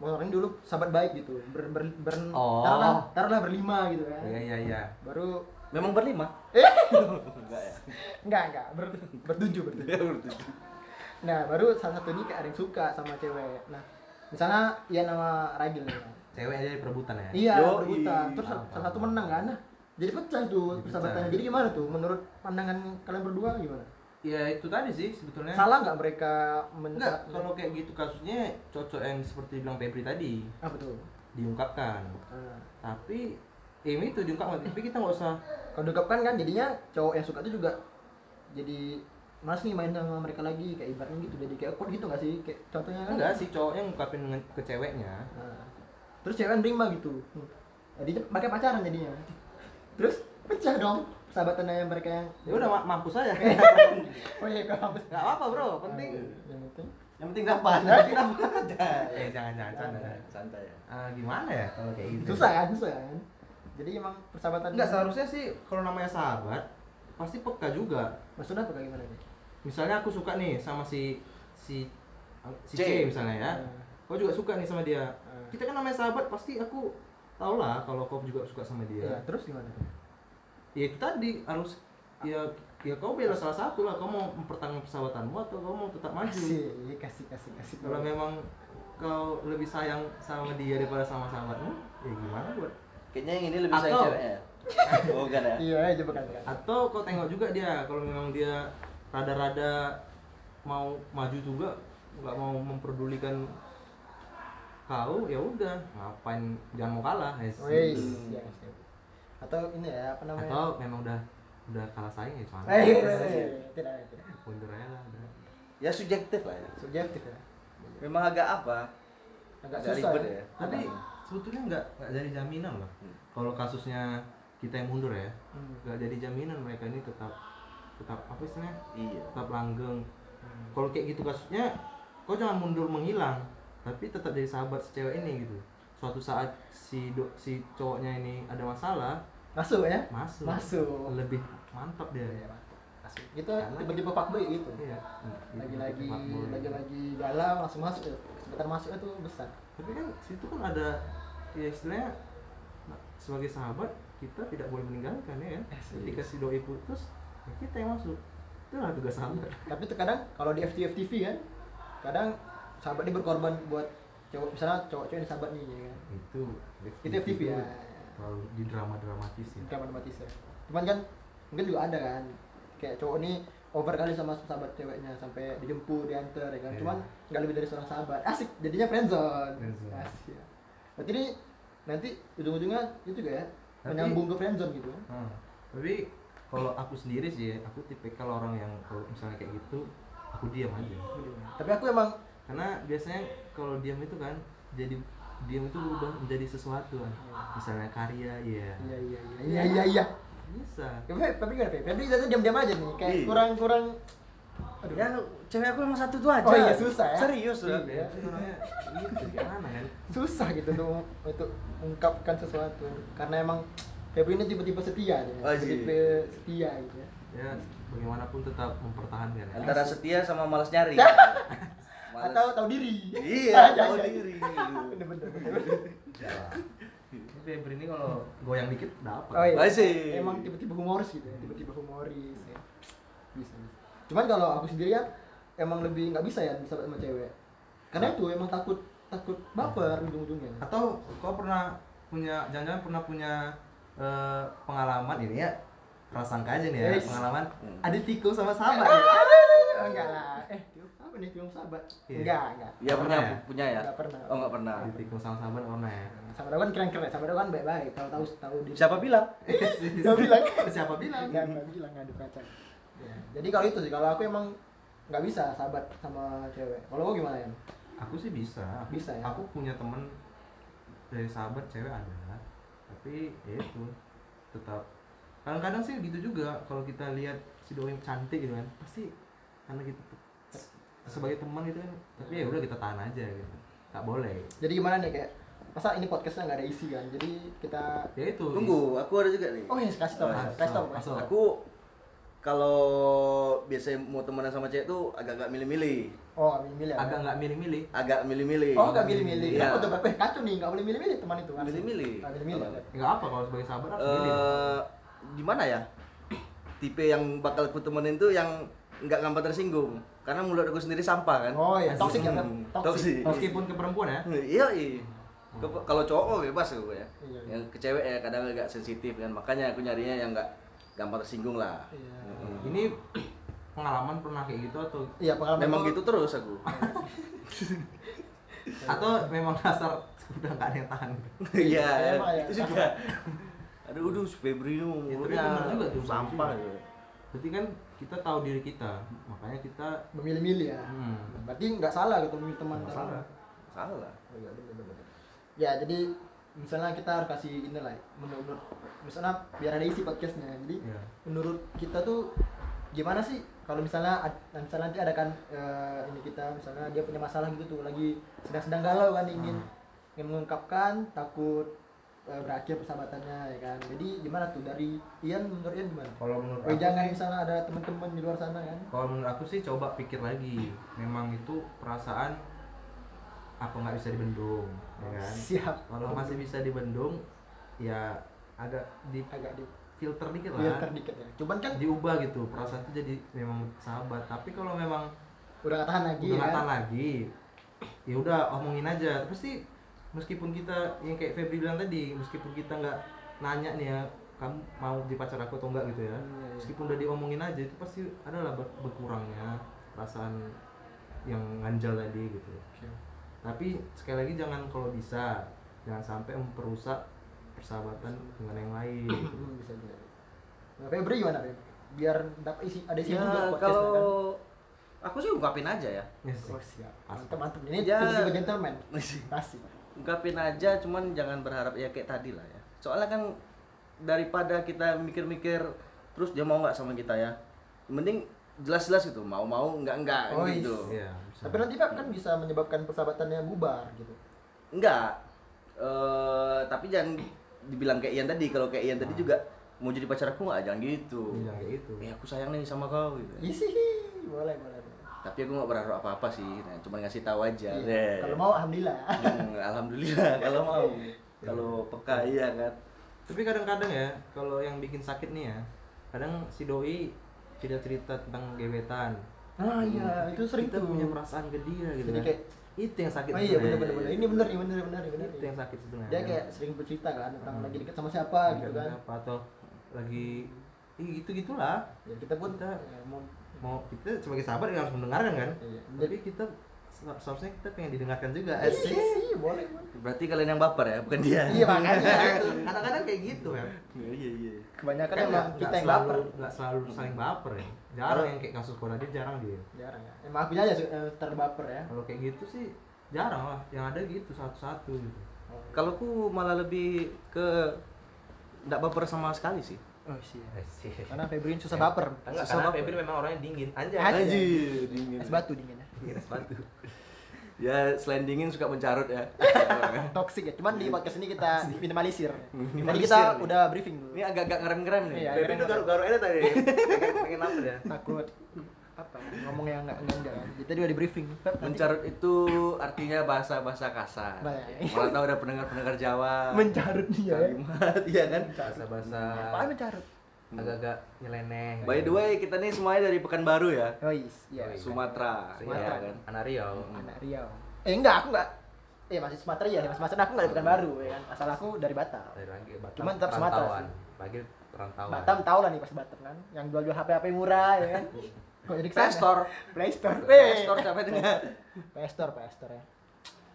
[SPEAKER 1] orang dulu sahabat baik gitu ber ber, ber
[SPEAKER 2] Oh.
[SPEAKER 1] taruhlah, taruhlah berlima gitu kan
[SPEAKER 2] iya iya iya
[SPEAKER 1] baru
[SPEAKER 3] memang berlima
[SPEAKER 1] Eh?
[SPEAKER 3] enggak ya
[SPEAKER 1] enggak enggak ber, bertujuh bertujuh
[SPEAKER 3] Ya, bertujuh.
[SPEAKER 1] Nah, baru salah satu ini kayak ada yang suka sama cewek. Nah, misalnya Ian sama Ragil nih. kan.
[SPEAKER 2] cewek aja di perebutan ya
[SPEAKER 1] Iya,
[SPEAKER 3] Yoi.
[SPEAKER 1] berebutan. Terus salah satu menang kan? Nah, jadi pecah tuh
[SPEAKER 2] Ah, Jadi
[SPEAKER 1] persahabatannya.
[SPEAKER 2] pecah.
[SPEAKER 1] Jadi gimana tuh menurut pandangan kalian berdua gimana?
[SPEAKER 2] ya itu tadi sih sebetulnya
[SPEAKER 1] Salah nggak mereka men
[SPEAKER 2] enggak kalau kayak gitu kasusnya cocok yang seperti bilang Febri tadi
[SPEAKER 1] apa tuh?
[SPEAKER 2] diungkapkan
[SPEAKER 1] Nah,
[SPEAKER 2] tapi ini tuh diungkapkan tapi kita nggak usah
[SPEAKER 1] kalau diungkapkan kan jadinya cowok yang suka tuh juga jadi Mas nih main sama mereka lagi kayak ibaratnya gitu jadi kayak awkward gitu nggak sih kayak contohnya kan
[SPEAKER 2] enggak sih cowoknya ngungkapin nge- ke ceweknya
[SPEAKER 1] Nah, terus cewek nerima gitu Hmm. jadi mereka pacaran jadinya terus pecah dong persahabatannya yang mereka yang
[SPEAKER 2] ya udah ma- mampus aja
[SPEAKER 1] oh iya kalau habis
[SPEAKER 2] nggak apa bro penting
[SPEAKER 1] yang penting
[SPEAKER 3] yang penting dapat yang penting dapat
[SPEAKER 1] Iya.
[SPEAKER 2] eh jangan jangan canda
[SPEAKER 3] santai ya
[SPEAKER 2] Ah, gimana ya kalau kayak gitu
[SPEAKER 1] susah kan susah kan jadi emang persahabatan
[SPEAKER 2] enggak seharusnya sih kalau namanya sahabat pasti peka juga
[SPEAKER 1] maksudnya apa kayak gimana nih
[SPEAKER 2] misalnya aku suka nih sama si si si
[SPEAKER 3] C.
[SPEAKER 2] C, misalnya ya kau juga suka nih sama dia kita kan namanya sahabat pasti aku tau lah kalau kau juga suka sama dia
[SPEAKER 1] ya terus gimana
[SPEAKER 2] ya itu tadi harus ya ya kau bela salah satu lah kau mau mempertahankan persahabatanmu atau kau mau tetap maju
[SPEAKER 1] kasih iya, kasih kasih kasih
[SPEAKER 2] kalau memang kau lebih sayang sama dia daripada sama sahabatmu ya gimana buat
[SPEAKER 3] kayaknya yang ini lebih sayang
[SPEAKER 2] Atau-
[SPEAKER 3] ceweknya ya? oh bukan ya
[SPEAKER 1] iya coba kan kan
[SPEAKER 2] atau kau tengok juga dia kalau memang dia rada-rada mau maju juga nggak mau memperdulikan kau ya udah ngapain jangan mau kalah guys
[SPEAKER 1] wes ya siap. atau ini ya apa namanya
[SPEAKER 2] atau memang udah udah kalah saing ya cuman
[SPEAKER 1] eh eh, eh, tidak tidak
[SPEAKER 2] mundur aja lah udah.
[SPEAKER 3] ya subjektif lah ya
[SPEAKER 1] subjektif ya
[SPEAKER 3] memang agak apa
[SPEAKER 1] agak
[SPEAKER 3] Agak
[SPEAKER 1] susah
[SPEAKER 3] ribet ya.
[SPEAKER 2] tapi sebetulnya nggak nggak jadi jaminan lah kalau kasusnya kita yang mundur ya
[SPEAKER 1] Hmm.
[SPEAKER 2] nggak jadi jaminan mereka ini tetap tetap apa istilahnya
[SPEAKER 3] iya
[SPEAKER 2] tetap langgeng kalau kayak gitu kasusnya kau jangan mundur menghilang tapi tetap jadi sahabat si cewek ini gitu suatu saat si do, si cowoknya ini ada masalah
[SPEAKER 1] masuk ya
[SPEAKER 2] masuk
[SPEAKER 1] masuk
[SPEAKER 2] lebih mantap dia ya
[SPEAKER 1] Masuk. kita tiba-tiba fuckboy gitu
[SPEAKER 2] Iya.
[SPEAKER 1] lagi-lagi lagi-lagi galau langsung masuk ya sebentar masuk itu besar
[SPEAKER 2] tapi kan situ kan ada ya istilahnya nah, sebagai sahabat kita tidak boleh meninggalkan ya kan?
[SPEAKER 1] Eh,
[SPEAKER 2] ketika si doi putus ya kita yang masuk itulah tugas sahabat
[SPEAKER 1] tapi terkadang kalau di FTV FTV kan kadang sahabat ini berkorban buat cowok misalnya cowok cowok yang sahabat nih ya kan
[SPEAKER 2] itu
[SPEAKER 1] itu FTV ya
[SPEAKER 2] terlalu di drama dramatis ya
[SPEAKER 1] drama dramatis ya cuman kan mungkin juga ada kan kayak cowok ini over kali sama sahabat ceweknya sampai dijemput diantar ya kan
[SPEAKER 2] Iya.
[SPEAKER 1] cuman nggak lebih dari seorang sahabat asik jadinya friendzone
[SPEAKER 2] Friendzone.
[SPEAKER 1] asik ya. berarti ini nanti ujung-ujungnya itu juga ya
[SPEAKER 2] Tapi-
[SPEAKER 1] menyambung ke friendzone gitu
[SPEAKER 2] Hmm. Tapi kalau aku sendiri sih, ya, aku tipikal orang yang kalau misalnya kayak gitu, aku diam aja.
[SPEAKER 1] tapi aku emang
[SPEAKER 2] Karena biasanya kalau diam itu kan jadi diam itu berubah menjadi sesuatu kan. Misalnya karya, ya
[SPEAKER 1] iya iya iya iya iya iya
[SPEAKER 2] bisa.
[SPEAKER 1] Ya, Feb, Febri gimana Feb? Febri tadi diam-diam aja nih, kayak
[SPEAKER 3] Iya.
[SPEAKER 1] kurang-kurang Aduh.
[SPEAKER 3] ya cewek aku emang satu tuh aja
[SPEAKER 1] Oh iya, susah ya?
[SPEAKER 3] serius lah
[SPEAKER 1] Iya.
[SPEAKER 2] Tapi orangnya gitu, gimana kan?
[SPEAKER 1] susah gitu untuk untuk mengungkapkan sesuatu karena emang Febri ini tiba-tiba setia aja,
[SPEAKER 3] Oh, iya.
[SPEAKER 1] tiba-tiba setia gitu ya.
[SPEAKER 2] Ya bagaimanapun tetap mempertahankan. Ya.
[SPEAKER 3] antara
[SPEAKER 1] Iya.
[SPEAKER 3] setia sama malas nyari Malas-
[SPEAKER 1] Atau tahu diri.
[SPEAKER 3] iya
[SPEAKER 1] Iya,
[SPEAKER 3] tahu
[SPEAKER 1] iya.
[SPEAKER 3] diri
[SPEAKER 1] Bener-bener. bener-bener.
[SPEAKER 2] Tapi Febri ini kalau goyang dikit dapat.
[SPEAKER 1] Oh, iya.
[SPEAKER 3] Masih.
[SPEAKER 1] Emang tiba-tiba humoris gitu, ya, tiba-tiba humoris. Ya. Bisa, bisa. Cuman kalau aku sendiri ya emang lebih nggak bisa ya bisa sama cewek. Karena itu emang takut takut baper ujung-ujungnya.
[SPEAKER 2] Atau kau pernah punya, jangan-jangan pernah punya eh, pengalaman ini ya prasangka aja nih ya
[SPEAKER 1] Yes.
[SPEAKER 2] pengalaman
[SPEAKER 3] Hmm.
[SPEAKER 2] ada tikung sama sahabat ya.
[SPEAKER 1] Oh, enggak lah. Eh, film apa nih film sahabat?
[SPEAKER 2] Iya.
[SPEAKER 1] Enggak, enggak.
[SPEAKER 3] Iya pernah
[SPEAKER 2] Pernah ya?
[SPEAKER 3] punya ya?
[SPEAKER 1] Nggak pernah.
[SPEAKER 3] Oh nggak pernah.
[SPEAKER 2] ditikung sama sahabat pernah ya
[SPEAKER 1] Sahabat aku kan keren-keren, sahabat aku kan baik-baik. Kalau tahu tahu diri.
[SPEAKER 3] Siapa bilang?
[SPEAKER 1] Nggak bilang.
[SPEAKER 2] siapa bilang
[SPEAKER 1] Enggak, enggak bilang ngadu kacang. Ya. Jadi kalau itu sih, kalau aku emang nggak bisa sahabat sama cewek. Kalau kau gimana ya?
[SPEAKER 2] aku sih bisa aku,
[SPEAKER 1] Bisa ya?
[SPEAKER 2] aku punya temen dari sahabat cewek ada tapi ya itu tetap kadang-kadang sih gitu juga kalau kita lihat si doi yang cantik gitu kan pasti karena gitu sebagai teman gitu kan tapi ya udah kita tahan aja gitu nggak boleh
[SPEAKER 1] Jadi gimana nih kayak masa ini podcastnya nggak ada isi kan? Jadi kita
[SPEAKER 2] ya itu
[SPEAKER 3] Tunggu, aku ada juga nih.
[SPEAKER 1] Oh ya, kasih tau,
[SPEAKER 3] Oh,
[SPEAKER 1] kasih
[SPEAKER 2] kasih
[SPEAKER 1] tau,
[SPEAKER 2] tau,
[SPEAKER 1] kasih tau.
[SPEAKER 2] kasih
[SPEAKER 3] Aku kalau biasanya mau temenan sama cewek tuh agak-agak milih-milih,
[SPEAKER 1] Oh, nggak milih-milih ya.
[SPEAKER 2] agak nggak milih-milih
[SPEAKER 3] agak milih-milih.
[SPEAKER 1] Oh, nggak milih-milih.
[SPEAKER 3] Iya.
[SPEAKER 1] Aku tuh eh, kacau nih, nggak boleh milih-milih teman itu. harus.
[SPEAKER 3] Milih-milih.
[SPEAKER 1] Nggak milih-milih.
[SPEAKER 3] Kalau-
[SPEAKER 2] nggak apa kalau sebagai sahabat harus milih
[SPEAKER 3] Eh, gimana ya? Tipe yang bakal ku temenin tuh yang nggak gampang tersinggung, karena mulut aku sendiri sampah kan.
[SPEAKER 1] Oh iya, toxic ya kan?
[SPEAKER 3] Hmm,
[SPEAKER 1] Toxic.
[SPEAKER 3] toxic.
[SPEAKER 2] meskipun ke perempuan ya
[SPEAKER 3] Iya iya. Ke- Kalau cowok mah bebas aku
[SPEAKER 1] Iya,
[SPEAKER 3] ya.
[SPEAKER 1] iya.
[SPEAKER 3] Yang ke cewek ya kadang agak sensitif kan, makanya aku nyarinya yang nggak gampang tersinggung lah.
[SPEAKER 1] Iya.
[SPEAKER 3] Mm-mm.
[SPEAKER 2] ini pengalaman pernah kayak gitu atau
[SPEAKER 1] Iya, pengalaman
[SPEAKER 3] Memang
[SPEAKER 1] aku-
[SPEAKER 3] gitu terus aku.
[SPEAKER 2] atau memang dasar udah nggak ada yang tahan
[SPEAKER 3] Iya,
[SPEAKER 1] Emang ya?
[SPEAKER 3] itu juga. Aduh, udah Febri tuh
[SPEAKER 2] Ya, tapi
[SPEAKER 3] mulutnya
[SPEAKER 2] bener juga tuh, Iya.
[SPEAKER 3] sampah.
[SPEAKER 2] Febri.
[SPEAKER 3] ya.
[SPEAKER 2] berarti kan kita tahu diri kita makanya kita
[SPEAKER 1] memilih-milih ya.
[SPEAKER 2] Hmm.
[SPEAKER 1] Berarti nggak salah gitu memilih teman.
[SPEAKER 2] Nggak salah.
[SPEAKER 3] Salah.
[SPEAKER 1] Ya jadi misalnya kita harus kasih ini lah menurut misalnya biar ada isi podcastnya. Jadi
[SPEAKER 2] Iya.
[SPEAKER 1] menurut kita tuh gimana sih kalau misalnya ad- misalnya nanti ada kan eh, ini kita misalnya dia punya masalah gitu tuh lagi sedang-sedang galau kan ingin
[SPEAKER 2] Hmm.
[SPEAKER 1] ingin mengungkapkan takut eh, berakhir persahabatannya ya kan. Jadi gimana tuh dari Ian menurut Ian gimana?
[SPEAKER 2] kalau menurut
[SPEAKER 1] Oh,
[SPEAKER 2] aku,
[SPEAKER 1] jangan misalnya ada teman-teman di luar sana kan.
[SPEAKER 2] kalau menurut aku sih coba pikir lagi memang itu perasaan apa nggak bisa dibendung ya kan
[SPEAKER 1] Siap.
[SPEAKER 2] kalau masih bisa dibendung ya agak di
[SPEAKER 1] agak di
[SPEAKER 2] filter dikit
[SPEAKER 1] biar
[SPEAKER 2] lah
[SPEAKER 1] terdikit ya. Cuman kan
[SPEAKER 2] diubah gitu perasaan itu jadi memang sahabat tapi kalau memang
[SPEAKER 1] udah nggak tahan lagi
[SPEAKER 2] udah
[SPEAKER 1] ya.
[SPEAKER 2] nggak tahan lagi ya udah omongin aja pasti meskipun kita yang kayak Febri bilang tadi meskipun kita nggak nanya nih ya kamu mau di pacar aku atau enggak gitu
[SPEAKER 1] Iya,
[SPEAKER 2] ya
[SPEAKER 1] iya.
[SPEAKER 2] meskipun udah diomongin aja itu pasti adalah ber- berkurangnya perasaan yang nganjal tadi gitu
[SPEAKER 1] Oke.
[SPEAKER 2] tapi sekali lagi jangan kalau bisa jangan sampai memperusak persahabatan dengan yang lain gitu.
[SPEAKER 1] Hmm, bisa juga. Nah, Febri gimana Febri? Biar dapat isi ada isi
[SPEAKER 3] Ya,
[SPEAKER 1] juga podcastnya
[SPEAKER 3] kalau aku sih ungkapin aja ya.
[SPEAKER 2] Yes.
[SPEAKER 1] kan. Oh, siap.
[SPEAKER 2] Pas.
[SPEAKER 1] Mantap mantap. Ini
[SPEAKER 3] Ya.
[SPEAKER 1] tiba-tiba gentleman. Pasti.
[SPEAKER 3] ungkapin aja cuman jangan berharap ya kayak tadi lah ya soalnya kan daripada kita mikir-mikir terus dia mau nggak sama kita ya mending jelas-jelas gitu mau mau nggak nggak
[SPEAKER 1] Oh,
[SPEAKER 3] gitu
[SPEAKER 2] Iya, bisa.
[SPEAKER 1] Tapi nanti Pak, kan bisa menyebabkan persahabatannya bubar gitu.
[SPEAKER 3] nggak Eh, tapi jangan dibilang kayak Ian tadi kalau kayak Ian tadi juga mau jadi pacar aku nggak jangan gitu
[SPEAKER 1] Iya,
[SPEAKER 2] Bilang kayak gitu.
[SPEAKER 3] ya aku sayang nih sama kau gitu
[SPEAKER 1] Isi, boleh boleh. boleh.
[SPEAKER 3] tapi aku nggak berharap apa apa sih nah, cuma ngasih tahu aja
[SPEAKER 1] Iya. Kalau mau alhamdulillah.
[SPEAKER 3] Hmm, alhamdulillah kalau mau kalau peka iya kan
[SPEAKER 2] Tapi kadang-kadang ya, kalau yang bikin sakit nih ya, kadang si doi tidak cerita tentang gebetan.
[SPEAKER 1] Nah iya, itu sering
[SPEAKER 2] Kita
[SPEAKER 1] tuh.
[SPEAKER 2] punya perasaan ke dia gitu.
[SPEAKER 1] Jadi
[SPEAKER 2] kan.
[SPEAKER 1] kayak-
[SPEAKER 2] itu yang sakit.
[SPEAKER 1] Oh iya
[SPEAKER 2] sebenarnya.
[SPEAKER 1] bener bener bener. Ini bener nih bener bener bener.
[SPEAKER 2] Itu yang sakit sebenarnya.
[SPEAKER 1] Dia kayak sering bercerita kan tentang lagi dekat sama siapa gitu kan.
[SPEAKER 2] apa atau lagi gitu gitulah
[SPEAKER 1] Ya kita pun
[SPEAKER 2] Kita-
[SPEAKER 1] ya, mau
[SPEAKER 2] mau kita sebagai sahabat yang harus mendengarkan kan
[SPEAKER 1] Iya.
[SPEAKER 2] tapi kita se- seharusnya kita pengen didengarkan juga
[SPEAKER 1] Isi,
[SPEAKER 2] asik
[SPEAKER 1] isi, Iya, boleh. boleh.
[SPEAKER 3] berarti kalian yang baper ya bukan dia
[SPEAKER 1] Iya makanya.
[SPEAKER 2] kadang-kadang kayak gitu ya
[SPEAKER 3] iya iya iya.
[SPEAKER 1] Kebanyakan
[SPEAKER 2] Kan
[SPEAKER 1] emang
[SPEAKER 2] nggak-
[SPEAKER 1] kita
[SPEAKER 2] nggak
[SPEAKER 1] yang Iya.
[SPEAKER 2] selalu-
[SPEAKER 1] baper.
[SPEAKER 2] nggak selalu saling baper ya jarang yang kayak kasus corona dia jarang dia
[SPEAKER 1] Jarang ya. Emang aku aja eh, terbaper ya.
[SPEAKER 2] kalau kayak gitu sih jarang lah yang ada gitu satu-satu gitu
[SPEAKER 1] Oh,
[SPEAKER 3] kalau aku malah lebih ke nggak baper sama sekali sih
[SPEAKER 1] Oh sih.
[SPEAKER 2] asik
[SPEAKER 1] Karena Febrin susah baper.
[SPEAKER 2] Enggak,
[SPEAKER 3] Susah
[SPEAKER 2] karena
[SPEAKER 3] baper.
[SPEAKER 2] Febri memang orangnya dingin aja
[SPEAKER 1] Anjay.
[SPEAKER 3] dingin
[SPEAKER 1] Es batu dinginnya.
[SPEAKER 2] es batu
[SPEAKER 3] Iya, ya selain dingin suka mencarut ya
[SPEAKER 1] Toxic ya. Cuman di podcast ini kita minimalisir. Tadi
[SPEAKER 3] Minimalisir.
[SPEAKER 1] kita udah briefing dulu.
[SPEAKER 3] ini agak-agak ngerem-ngerem nih
[SPEAKER 1] Iya.
[SPEAKER 2] Febri udah garuk-garuk aja tadi pengen pengen apa ya
[SPEAKER 1] Takut apa ngomong yang enggak enggak enggak. Kita udah di briefing. Pep, nanti-
[SPEAKER 3] mencarut itu artinya bahasa-bahasa kasar
[SPEAKER 1] Bahaya.
[SPEAKER 3] malah tahu ada pendengar-pendengar Jawa
[SPEAKER 1] mencarut dia. ya.
[SPEAKER 3] kalimat iya kan
[SPEAKER 2] bahasa-bahasa
[SPEAKER 1] Apaan mencarut?
[SPEAKER 2] agak-agak nyeleneh
[SPEAKER 3] by the way kita nih semuanya dari Pekanbaru ya
[SPEAKER 1] Oh iya.
[SPEAKER 2] Yoi.
[SPEAKER 3] Sumatera
[SPEAKER 2] Sumatera
[SPEAKER 3] Iya
[SPEAKER 2] kan anak Riau
[SPEAKER 1] Anak Riau. Eh enggak, aku enggak. Eh masih Sumatera ya, masih Sumatera aku enggak bukan baru ya kan. Asal aku dari Batam.
[SPEAKER 2] Dari lagi Batam
[SPEAKER 1] Cuman tetap Sumatera
[SPEAKER 2] perantauan.
[SPEAKER 1] sih.
[SPEAKER 2] Lagi perantauan
[SPEAKER 1] Batam tau lah nih pas Batam kan, yang jual-jual HP-HP murah ya kan. Kok jadi
[SPEAKER 3] Play Store
[SPEAKER 1] Play Store.
[SPEAKER 3] Play Store siapa dengar
[SPEAKER 1] Play Store, Play Store ya.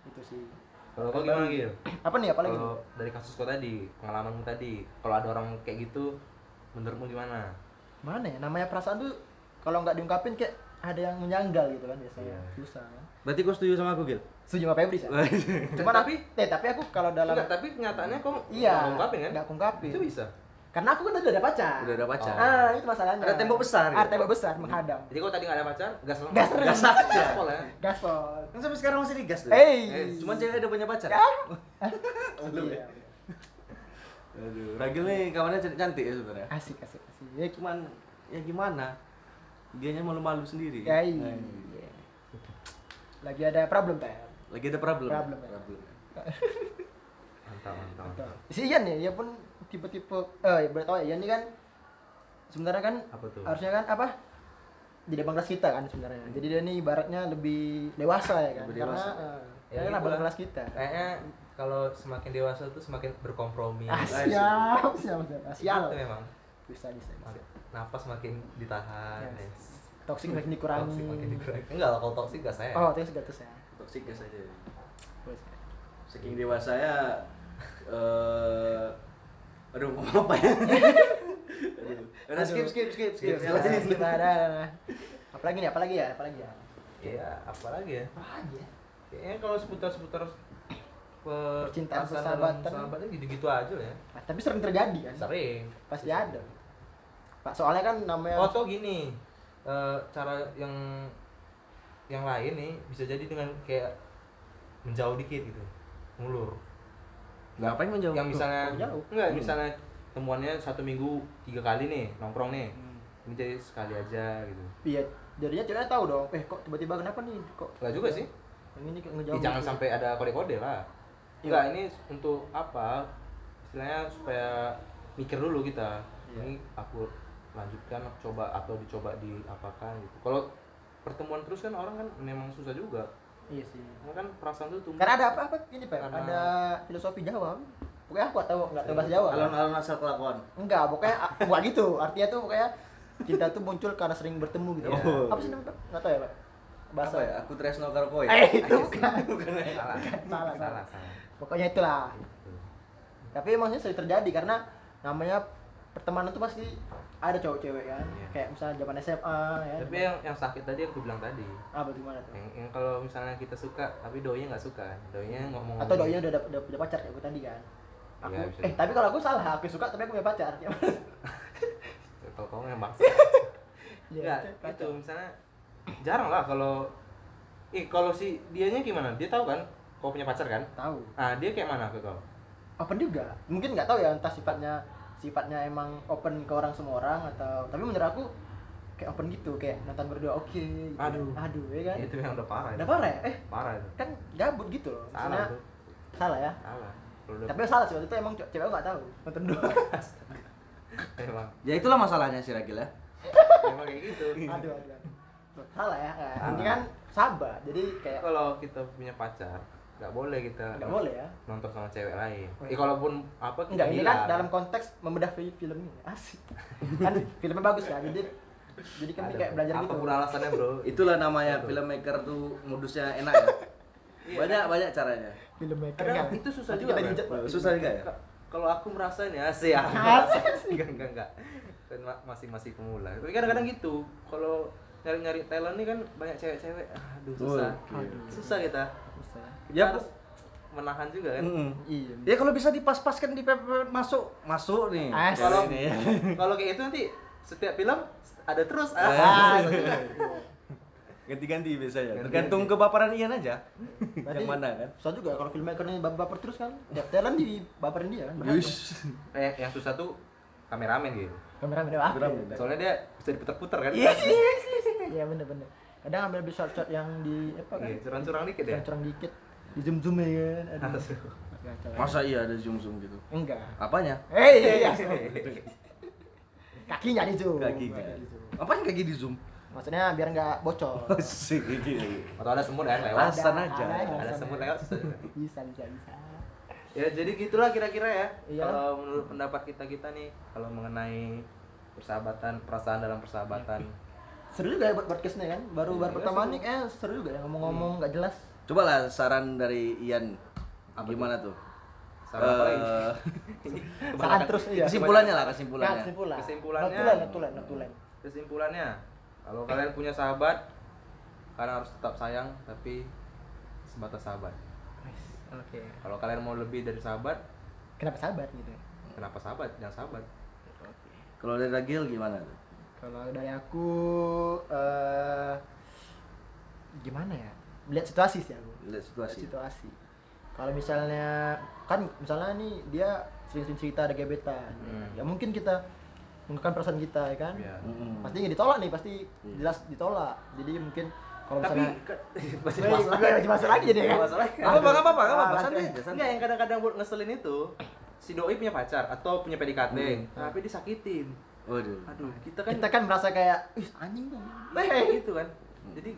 [SPEAKER 1] Itu sih.
[SPEAKER 2] kalau kau gimana gitu
[SPEAKER 1] Apa nih apalagi?
[SPEAKER 2] kalau dari kasus kau tadi pengalamanmu tadi kalau ada orang kayak gitu menurutmu gimana
[SPEAKER 1] Mana ya namanya perasaan tuh kalau nggak diungkapin kayak ada yang menyanggal gitu kan biasanya.
[SPEAKER 2] Iya.
[SPEAKER 1] Susah kan.
[SPEAKER 3] berarti kau setuju sama aku Gil
[SPEAKER 1] Setuju sama Febri sih. Cuman tapi
[SPEAKER 2] tapi-
[SPEAKER 1] eh tapi aku kalau dalam
[SPEAKER 2] Enggak, tapi kenyataannya kau
[SPEAKER 1] iya,
[SPEAKER 2] nggak ngungkapin kan
[SPEAKER 1] nggak ngungkapin.
[SPEAKER 2] itu bisa
[SPEAKER 1] Karena aku kan tadi udah ada pacar.
[SPEAKER 3] udah ada pacar
[SPEAKER 1] Ah, itu masalahnya.
[SPEAKER 3] Ada tembok besar,
[SPEAKER 1] Ada
[SPEAKER 3] gitu.
[SPEAKER 1] tembok besar menghadang.
[SPEAKER 2] jadi kau tadi nggak ada pacar gas lem-
[SPEAKER 1] Gas lem.
[SPEAKER 2] gas gaspol ya
[SPEAKER 1] Gaspol.
[SPEAKER 3] kan sampai sekarang masih digas tuh
[SPEAKER 1] Ah.
[SPEAKER 3] Eh,
[SPEAKER 1] Hey. Ya.
[SPEAKER 3] cuman cewek udah punya pacar Belum ya?
[SPEAKER 1] Iya.
[SPEAKER 3] Aduh, Ragil nih kawannya cantik-cantik ya sebenarnya.
[SPEAKER 1] Asik, asik, asik. Ya,
[SPEAKER 3] Cuman ya gimana? Dianya malu-malu sendiri. Nah,
[SPEAKER 1] ya, iya. Lagi ada problem teh.
[SPEAKER 3] Lagi ada problem.
[SPEAKER 1] Problem, ya.
[SPEAKER 2] mantap mantap
[SPEAKER 1] Si Ian ya, dia pun tipe-tipe eh berarti tahu ya, Ian ini kan sebenarnya kan
[SPEAKER 2] Apa tuh?
[SPEAKER 1] harusnya kan apa? Di depan kelas kita kan sebenarnya. Jadi dia ini ibaratnya lebih dewasa ya kan.
[SPEAKER 3] Lebih
[SPEAKER 1] Karena
[SPEAKER 3] dewasa.
[SPEAKER 1] eh, dia kan
[SPEAKER 2] gitu
[SPEAKER 1] abang
[SPEAKER 2] lah.
[SPEAKER 1] kelas kita.
[SPEAKER 2] kayaknya kalau semakin dewasa tuh semakin berkompromi
[SPEAKER 1] Ah, siap, siap, siap. Ah, Sial.
[SPEAKER 2] itu memang
[SPEAKER 1] Bisa, bisa. bisa.
[SPEAKER 2] napas makin ditahan
[SPEAKER 1] Yes.
[SPEAKER 2] yes.
[SPEAKER 1] Toxic makin
[SPEAKER 2] Toxic makin
[SPEAKER 1] dikurangi.
[SPEAKER 2] dikurangi enggak lah kalau toxic gak saya
[SPEAKER 1] Oh, terus gatus ya.
[SPEAKER 3] Toksik gas aja.
[SPEAKER 1] Boleh.
[SPEAKER 3] Saking dewasa ya eh aduh ngomong apa ya? aduh. Udah skip skip skip skip.
[SPEAKER 1] Skip, skip, skip, ada, ada, ada. nah, Apalagi nih, apalagi ya, apalagi ya.
[SPEAKER 2] ya apalagi ya
[SPEAKER 1] Apalagi ya.
[SPEAKER 2] kayaknya kalau seputar-seputar per-
[SPEAKER 1] Percintaan,
[SPEAKER 2] perasaan
[SPEAKER 1] persahabatan.
[SPEAKER 2] dalam sahabatnya gitu-gitu aja lah ya
[SPEAKER 1] Ah, tapi sering terjadi kan?
[SPEAKER 2] sering
[SPEAKER 1] Pasti ada. Pak, soalnya kan namanya
[SPEAKER 2] oh atau gini eh, cara yang yang lain nih bisa jadi dengan kayak menjauh dikit gitu ngulur
[SPEAKER 3] Ngapain menjauh?
[SPEAKER 2] yang misalnya
[SPEAKER 1] oh, jauh.
[SPEAKER 2] enggak
[SPEAKER 3] Hmm.
[SPEAKER 2] misalnya temuannya satu minggu tiga kali nih nongkrong nih ini jadi sekali aja gitu
[SPEAKER 1] iya, jadinya ceweknya tahu dong. Eh, kok tiba-tiba kenapa nih? Kok
[SPEAKER 2] enggak juga sih
[SPEAKER 1] yang ini kayak
[SPEAKER 2] Ya,
[SPEAKER 1] ngejauh?
[SPEAKER 2] jangan
[SPEAKER 1] gitu.
[SPEAKER 2] sampai ada kode-kode lah.
[SPEAKER 1] Iya.
[SPEAKER 2] Enggak, ini untuk apa? Istilahnya supaya mikir dulu kita.
[SPEAKER 1] Iya.
[SPEAKER 2] Ini aku lanjutkan coba atau dicoba diapakan gitu. Kalau pertemuan terus kan orang kan memang susah juga.
[SPEAKER 1] Iya sih.
[SPEAKER 2] Karena kan perasaan itu tumbuh.
[SPEAKER 1] Karena ada apa-apa gini, Pak.
[SPEAKER 2] Karena- Iya.
[SPEAKER 1] Ada filosofi Jawa. Pokoknya aku tahu nggak tahu bahasa Jawa.
[SPEAKER 3] Alon-alon asal kelakuan.
[SPEAKER 1] Enggak, pokoknya ah, bukan gitu. Artinya tuh pokoknya cinta tuh muncul karena sering bertemu gitu.
[SPEAKER 2] Iya.
[SPEAKER 1] Apa sih namanya? Pak? Nggak tahu ya, Pak. Bahasa
[SPEAKER 3] Apa ya? Aku Tresno Karpoy.
[SPEAKER 1] Eh, itu bukan.
[SPEAKER 3] eh.
[SPEAKER 2] salah.
[SPEAKER 1] Salah,
[SPEAKER 2] salah,
[SPEAKER 1] salah.
[SPEAKER 2] salah.
[SPEAKER 1] Pokoknya itulah.
[SPEAKER 2] gitu.
[SPEAKER 1] tapi maksudnya sering terjadi karena namanya pertemanan tuh pasti ada cowok cewek kan
[SPEAKER 2] Iya.
[SPEAKER 1] kayak misalnya zaman SMA ya
[SPEAKER 2] Tapi yang yang sakit tadi yang aku bilang tadi.
[SPEAKER 1] apa gimana tuh
[SPEAKER 2] Yang, yang kalau misalnya kita suka tapi doinya nggak suka, doinya ngomong
[SPEAKER 1] atau doi udah dap- udah punya pacar kayak gue tadi kan Aku,
[SPEAKER 2] Nggak Iya, bisa.
[SPEAKER 1] eh tapi kalau aku salah, aku suka tapi aku punya pacar.
[SPEAKER 2] Iya,
[SPEAKER 1] Ya,
[SPEAKER 2] Kalau kamu yang maksa.
[SPEAKER 1] ya,
[SPEAKER 2] Enggak, itu
[SPEAKER 1] kacau.
[SPEAKER 2] misalnya jarang lah kalau eh kalau si dianya gimana? Dia tahu kan kau punya pacar kan?
[SPEAKER 1] Tahu.
[SPEAKER 2] Ah, dia kayak mana ke kau?
[SPEAKER 1] Open juga. Mungkin nggak tahu ya entah sifatnya sifatnya emang open ke orang semua orang atau tapi menurut aku kayak open gitu kayak nonton berdua oke gitu.
[SPEAKER 2] Aduh.
[SPEAKER 1] aduh ya kan
[SPEAKER 2] Itu yang udah parah.
[SPEAKER 1] udah
[SPEAKER 2] Itu.
[SPEAKER 1] parah ya eh
[SPEAKER 2] Parah itu.
[SPEAKER 1] kan gabut gitu loh
[SPEAKER 2] Salah
[SPEAKER 1] Maksudnya-
[SPEAKER 2] tuh.
[SPEAKER 1] salah ya
[SPEAKER 2] Salah. Kalau udah
[SPEAKER 1] tapi salah sih waktu itu emang ce- cewek aku nggak tahu nonton doang
[SPEAKER 2] emang
[SPEAKER 3] Ya itulah masalahnya si Ragil ya.
[SPEAKER 2] emang kayak gitu.
[SPEAKER 1] aduh aduh aduh. salah ya nah,
[SPEAKER 2] Salah.
[SPEAKER 1] ini kan sabar jadi kayak
[SPEAKER 2] Kalau kita punya pacar, nggak boleh kita
[SPEAKER 1] nggak boleh ya
[SPEAKER 2] nonton sama cewek lain. Eh, kalaupun apa iya. kita
[SPEAKER 1] Enggak, ini
[SPEAKER 2] bilang.
[SPEAKER 1] kan dalam konteks membedah fi- film ini asik kan filmnya bagus kan jadi jadi kami
[SPEAKER 2] Ada,
[SPEAKER 1] kayak belajar
[SPEAKER 2] apa
[SPEAKER 1] gitu
[SPEAKER 2] pun alasannya, Bro?
[SPEAKER 3] Itulah namanya
[SPEAKER 2] Betul.
[SPEAKER 3] filmmaker tuh modusnya enak ya.
[SPEAKER 1] Iya.
[SPEAKER 3] Banyak banyak caranya.
[SPEAKER 1] filmmaker
[SPEAKER 2] Kadang
[SPEAKER 1] kan.
[SPEAKER 2] itu susah
[SPEAKER 1] Nanti
[SPEAKER 2] juga,
[SPEAKER 1] kita
[SPEAKER 2] Bang.
[SPEAKER 1] dihujat, Pak.
[SPEAKER 3] Susah juga ya.
[SPEAKER 2] Ka- Kalau aku merasanya sih aku merasa enggak enggak enggak. Kan ma- masih masih pemula. Tapi kadang-kadang gitu. Kalau nyari-nyari talent nih kan banyak cewek-cewek. Ah, Aduh, susah.
[SPEAKER 3] Oke.
[SPEAKER 2] Susah kita.
[SPEAKER 1] Susah.
[SPEAKER 2] Kita
[SPEAKER 3] Ya,
[SPEAKER 2] harus menahan juga kan.
[SPEAKER 3] Mm-mm.
[SPEAKER 1] iya
[SPEAKER 3] Ya kalau bisa dipas-paskan di pepet masuk, masuk nih.
[SPEAKER 1] As-
[SPEAKER 3] Kalau
[SPEAKER 2] Kalau
[SPEAKER 3] ini. ya.
[SPEAKER 2] kalau kayak itu nanti setiap film ada terus. Ah.
[SPEAKER 3] Ah. Ganti-ganti biasanya.
[SPEAKER 2] Ganti-ganti.
[SPEAKER 3] Tergantung kebaparan Ian aja. Yang mana kan?
[SPEAKER 1] susah juga kalau filmmakernya baper terus kan tiap talent di baperin dia kan berat tuh.
[SPEAKER 3] Yush.
[SPEAKER 2] Kayak yang susah tuh kameramen gitu.
[SPEAKER 1] kamera udah
[SPEAKER 3] Geram
[SPEAKER 1] apa
[SPEAKER 3] ya.
[SPEAKER 2] Soalnya dia bisa diputer-puter kan.
[SPEAKER 3] Iya.
[SPEAKER 1] iya bener bener kadang ambil shot shot yang di apa kan
[SPEAKER 2] Iya, curang-curang dikit ya.
[SPEAKER 1] curang dikit di zoom zoom ya kan aduh
[SPEAKER 2] Asuh.
[SPEAKER 1] Kacau ya.
[SPEAKER 3] Masa iya ada zoom zoom gitu?
[SPEAKER 1] enggak
[SPEAKER 3] Apanya?
[SPEAKER 1] eh iya iya kakinya di zoom
[SPEAKER 3] Kakinya.
[SPEAKER 1] Di zoom.
[SPEAKER 3] Apaan kaki di zoom?
[SPEAKER 1] maksudnya biar nggak bocor
[SPEAKER 3] Sih, gini.
[SPEAKER 2] Atau ada semut kan lewat.
[SPEAKER 3] Alasan aja.
[SPEAKER 1] ada,
[SPEAKER 2] Ada semut lewat susah juga.
[SPEAKER 1] bisa bisa bisa
[SPEAKER 2] ya jadi gitulah kira-kira ya
[SPEAKER 1] Iya.
[SPEAKER 2] kalau menurut pendapat kita kita nih kalau mengenai persahabatan perasaan dalam persahabatan
[SPEAKER 1] seru juga ya buat podcastnya kan baru
[SPEAKER 2] Iya,
[SPEAKER 1] baru pertama
[SPEAKER 2] seru.
[SPEAKER 1] nih eh seru juga ya ngomong-ngomong nggak jelas
[SPEAKER 3] Coba lah saran dari Ian. Gimana tuh?
[SPEAKER 2] Saran apa lagi?
[SPEAKER 3] Eh,
[SPEAKER 1] saat
[SPEAKER 2] Kebanyakan-
[SPEAKER 1] terus iya Nah,
[SPEAKER 3] Kesimpulannya lah ya? kesimpulannya.
[SPEAKER 1] kesimpulan
[SPEAKER 2] Kesimpulannya-
[SPEAKER 1] notulen notulen notulen
[SPEAKER 2] kesimpulannya kalau kalian punya sahabat kalian harus tetap sayang tapi sebatas sahabat
[SPEAKER 1] oke
[SPEAKER 2] kalau kalian mau lebih dari sahabat
[SPEAKER 1] kenapa sahabat gitu
[SPEAKER 2] kenapa sahabat jangan sahabat
[SPEAKER 3] Kalau dari Ragil gimana? tuh?
[SPEAKER 1] kalau dari aku eh gimana ya lihat situasi sih aku
[SPEAKER 3] Lihat
[SPEAKER 1] Lihat
[SPEAKER 3] situasi.
[SPEAKER 1] situasi kalau misalnya kan misalnya nih dia sering-sering cerita ada gebetan
[SPEAKER 2] Hmm.
[SPEAKER 1] ya mungkin kita mengungkapkan perasaan kita ya kan
[SPEAKER 2] Iya.
[SPEAKER 3] Mm-mm.
[SPEAKER 1] pasti nggak ditolak nih pasti
[SPEAKER 3] Hmm. Iya.
[SPEAKER 1] jelas ditolak jadi mungkin kalau
[SPEAKER 2] tapi
[SPEAKER 1] misalnya
[SPEAKER 2] ke-
[SPEAKER 1] Wih,
[SPEAKER 2] masih masalah
[SPEAKER 1] gue lagi masuk lagi jadi
[SPEAKER 2] Masih
[SPEAKER 1] kan
[SPEAKER 2] masuk lagi.
[SPEAKER 3] Gak apa-apa, gak apa-apa, gak apa-apa,
[SPEAKER 1] Ah,
[SPEAKER 3] santai
[SPEAKER 1] lanjut.
[SPEAKER 3] aja, santai.
[SPEAKER 2] Enggak, yang kadang-kadang buat ngeselin itu si doi punya pacar atau punya PDKT
[SPEAKER 3] Hmm.
[SPEAKER 2] tapi disakitin
[SPEAKER 3] Waduh.
[SPEAKER 2] aduh kita kan
[SPEAKER 1] kita kan merasa kayak ih anjing dong
[SPEAKER 2] Nah, gitu kan. Jadi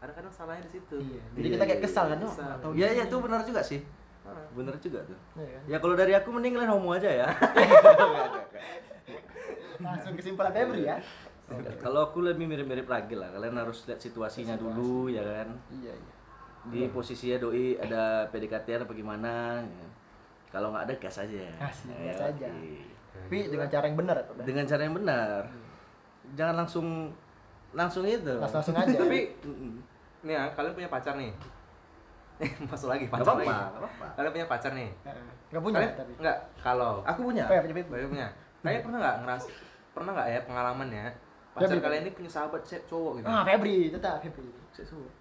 [SPEAKER 2] kadang-kadang salahnya di situ.
[SPEAKER 1] iya
[SPEAKER 3] Iya,
[SPEAKER 1] jadi kita kayak
[SPEAKER 3] iya,
[SPEAKER 1] kesal kan
[SPEAKER 2] kesal.
[SPEAKER 1] atau
[SPEAKER 3] Iya, iya itu benar juga sih.
[SPEAKER 2] Ah.
[SPEAKER 3] Benar juga tuh.
[SPEAKER 1] Iya kan?
[SPEAKER 3] Ya kalau dari aku mending kalian homo aja ya.
[SPEAKER 1] langsung kesimpulan Febri ya
[SPEAKER 3] kalau aku lebih mirip-mirip Ragil lah. Kalian harus lihat situasinya dulu ya kan.
[SPEAKER 1] iya iya
[SPEAKER 3] Di posisinya doi ada PDKT apa gimana. ya. Kalau nggak ada gas aja.
[SPEAKER 1] Gas,
[SPEAKER 3] Ya,
[SPEAKER 1] gas aja.
[SPEAKER 3] oke.
[SPEAKER 1] tapi
[SPEAKER 2] Gitu
[SPEAKER 1] dengan cara yang benar ya Pak.
[SPEAKER 3] Dengan cara yang benar. Jangan langsung langsung itu.
[SPEAKER 1] langsung langsung aja
[SPEAKER 2] Tapi
[SPEAKER 3] Mm-mm.
[SPEAKER 2] nih ya, kalian punya pacar nih. Eh, Masuk lagi
[SPEAKER 3] Gak
[SPEAKER 2] pacar
[SPEAKER 3] apa-apa,
[SPEAKER 2] lagi.
[SPEAKER 3] gak apa-apa.
[SPEAKER 2] Kalian punya pacar nih.
[SPEAKER 1] nggak punya
[SPEAKER 2] Kalian-
[SPEAKER 1] tapi
[SPEAKER 2] Enggak, kalau
[SPEAKER 3] Aku punya.
[SPEAKER 1] apa ya punya Febri?
[SPEAKER 2] kalian punya. Kalian pernah nggak ngeras pernah nggak ya pengalamannya pacar
[SPEAKER 1] Tapi-
[SPEAKER 2] kalian ini punya sahabat ce- cowok gitu.
[SPEAKER 1] ah Febri tetap Febri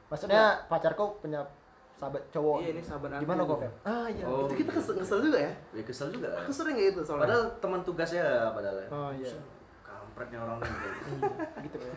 [SPEAKER 1] maksudnya pacarku punya sahabat cowok
[SPEAKER 2] Iya, ini sahabat aku.
[SPEAKER 1] gimana kok Feb ah iya
[SPEAKER 3] Oh.
[SPEAKER 2] Itu kita kesel, kesel juga ya.
[SPEAKER 3] Ya kesel juga.
[SPEAKER 2] Aku sering kayak gitu soalnya.
[SPEAKER 3] Padahal teman tugasnya padahal ya.
[SPEAKER 1] oh iya
[SPEAKER 3] Kampretnya orang lain.
[SPEAKER 1] gitu ya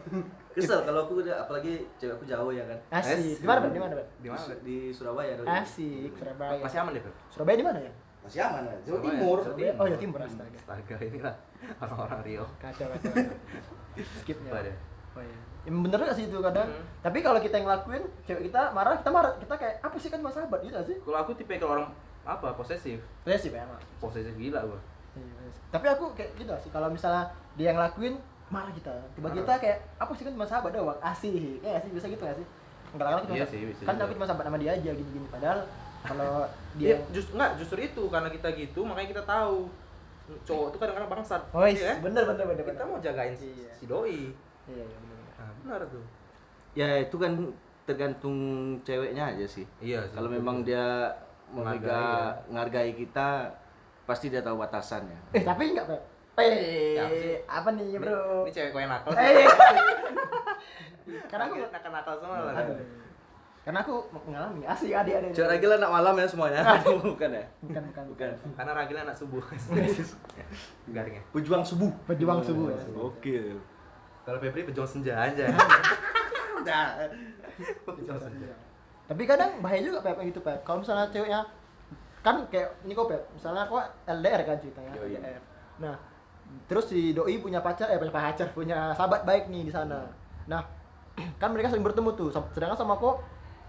[SPEAKER 3] Kesel kalau aku udah apalagi cewek aku jauh ya kan.
[SPEAKER 2] Ah,
[SPEAKER 1] asik gimana Feb gimana Feb
[SPEAKER 2] di mana?
[SPEAKER 3] Di, Su- di Surabaya dulu.
[SPEAKER 1] asik Surabaya
[SPEAKER 2] Masih aman deh, Beb.
[SPEAKER 1] Surabaya di mana ya
[SPEAKER 3] Masih aman lah. Jawa
[SPEAKER 2] Surabaya.
[SPEAKER 3] Timur.
[SPEAKER 2] Surabaya.
[SPEAKER 1] Surabaya oh ya timur astaga
[SPEAKER 2] Astaga, inilah orang-orang Rio.
[SPEAKER 1] kacau kacau, kacau. skip ya
[SPEAKER 2] Apa deh?
[SPEAKER 1] oh iya ya, bener gak sih itu kadang
[SPEAKER 2] Hmm.
[SPEAKER 1] tapi kalau kita yang ngelakuin cewek kita marah kita marah kita kayak apa sih kan cuma sahabat gitu gak sih
[SPEAKER 2] Kalau aku tipe kalau orang apa posesif,
[SPEAKER 1] Iya sih emang
[SPEAKER 2] posesif gila gua.
[SPEAKER 1] Iya, tapi aku kayak gitu sih kalau misalnya dia yang ngelakuin marah kita tiba
[SPEAKER 2] Marah.
[SPEAKER 1] kita kayak apa sih kan cuma sahabat doang asih ya sih bisa gitu gak sih enggak lah
[SPEAKER 2] Iya
[SPEAKER 1] cuma
[SPEAKER 2] sih, bisa
[SPEAKER 1] kan
[SPEAKER 2] juga.
[SPEAKER 1] aku cuma sahabat sama dia aja gini gini padahal kalau
[SPEAKER 2] Iya,
[SPEAKER 1] dia yang-
[SPEAKER 2] justru enggak, justru itu karena kita gitu makanya kita tahu cowok itu kadang-kadang bangsat.
[SPEAKER 1] Oh,
[SPEAKER 2] iya kan?
[SPEAKER 1] bener bener bener
[SPEAKER 2] Kita
[SPEAKER 1] bener.
[SPEAKER 2] mau jagain si,
[SPEAKER 1] Iya.
[SPEAKER 2] si doi.
[SPEAKER 1] iya iya bener bener
[SPEAKER 2] Nah, benar tuh.
[SPEAKER 3] Ya itu kan tergantung ceweknya aja sih.
[SPEAKER 2] Iya,
[SPEAKER 3] Kalau memang dia
[SPEAKER 2] Menghargai,
[SPEAKER 3] ya. memegang menghargai kita pasti dia tahu batasannya
[SPEAKER 1] Eh tapi enggak Beb.
[SPEAKER 2] Ya, apa sih?
[SPEAKER 1] Eh, apa nih bro?
[SPEAKER 2] Ini cewek kue nakal.
[SPEAKER 1] Eh,
[SPEAKER 2] Karena
[SPEAKER 1] karena aku,
[SPEAKER 2] nakal-nakal semua lah.
[SPEAKER 1] aduh. karena aku mengalami asli adik adik.
[SPEAKER 3] Cewek ragil anak malam ya semuanya bukan ya
[SPEAKER 1] Bukan bukan
[SPEAKER 3] bukan
[SPEAKER 2] Karena Ragil anak subuh. Garingnya.
[SPEAKER 3] pejuang subuh
[SPEAKER 1] Pejuang subuh ya.
[SPEAKER 3] oke
[SPEAKER 2] Kalau Febri pejuang senja aja.
[SPEAKER 3] udah
[SPEAKER 2] pejuang senja.
[SPEAKER 1] Tapi kadang bahaya juga Pep kayak gitu Pep. Kalau misalnya ceweknya kan kayak ini kok Pep, misalnya aku LDR kan ceritanya.
[SPEAKER 3] Yoi.
[SPEAKER 1] LDR. Nah, terus si doi punya pacar eh punya pacar, punya sahabat baik nih di sana. Nah, kan mereka sering bertemu tuh. Sam- Sedangkan sama aku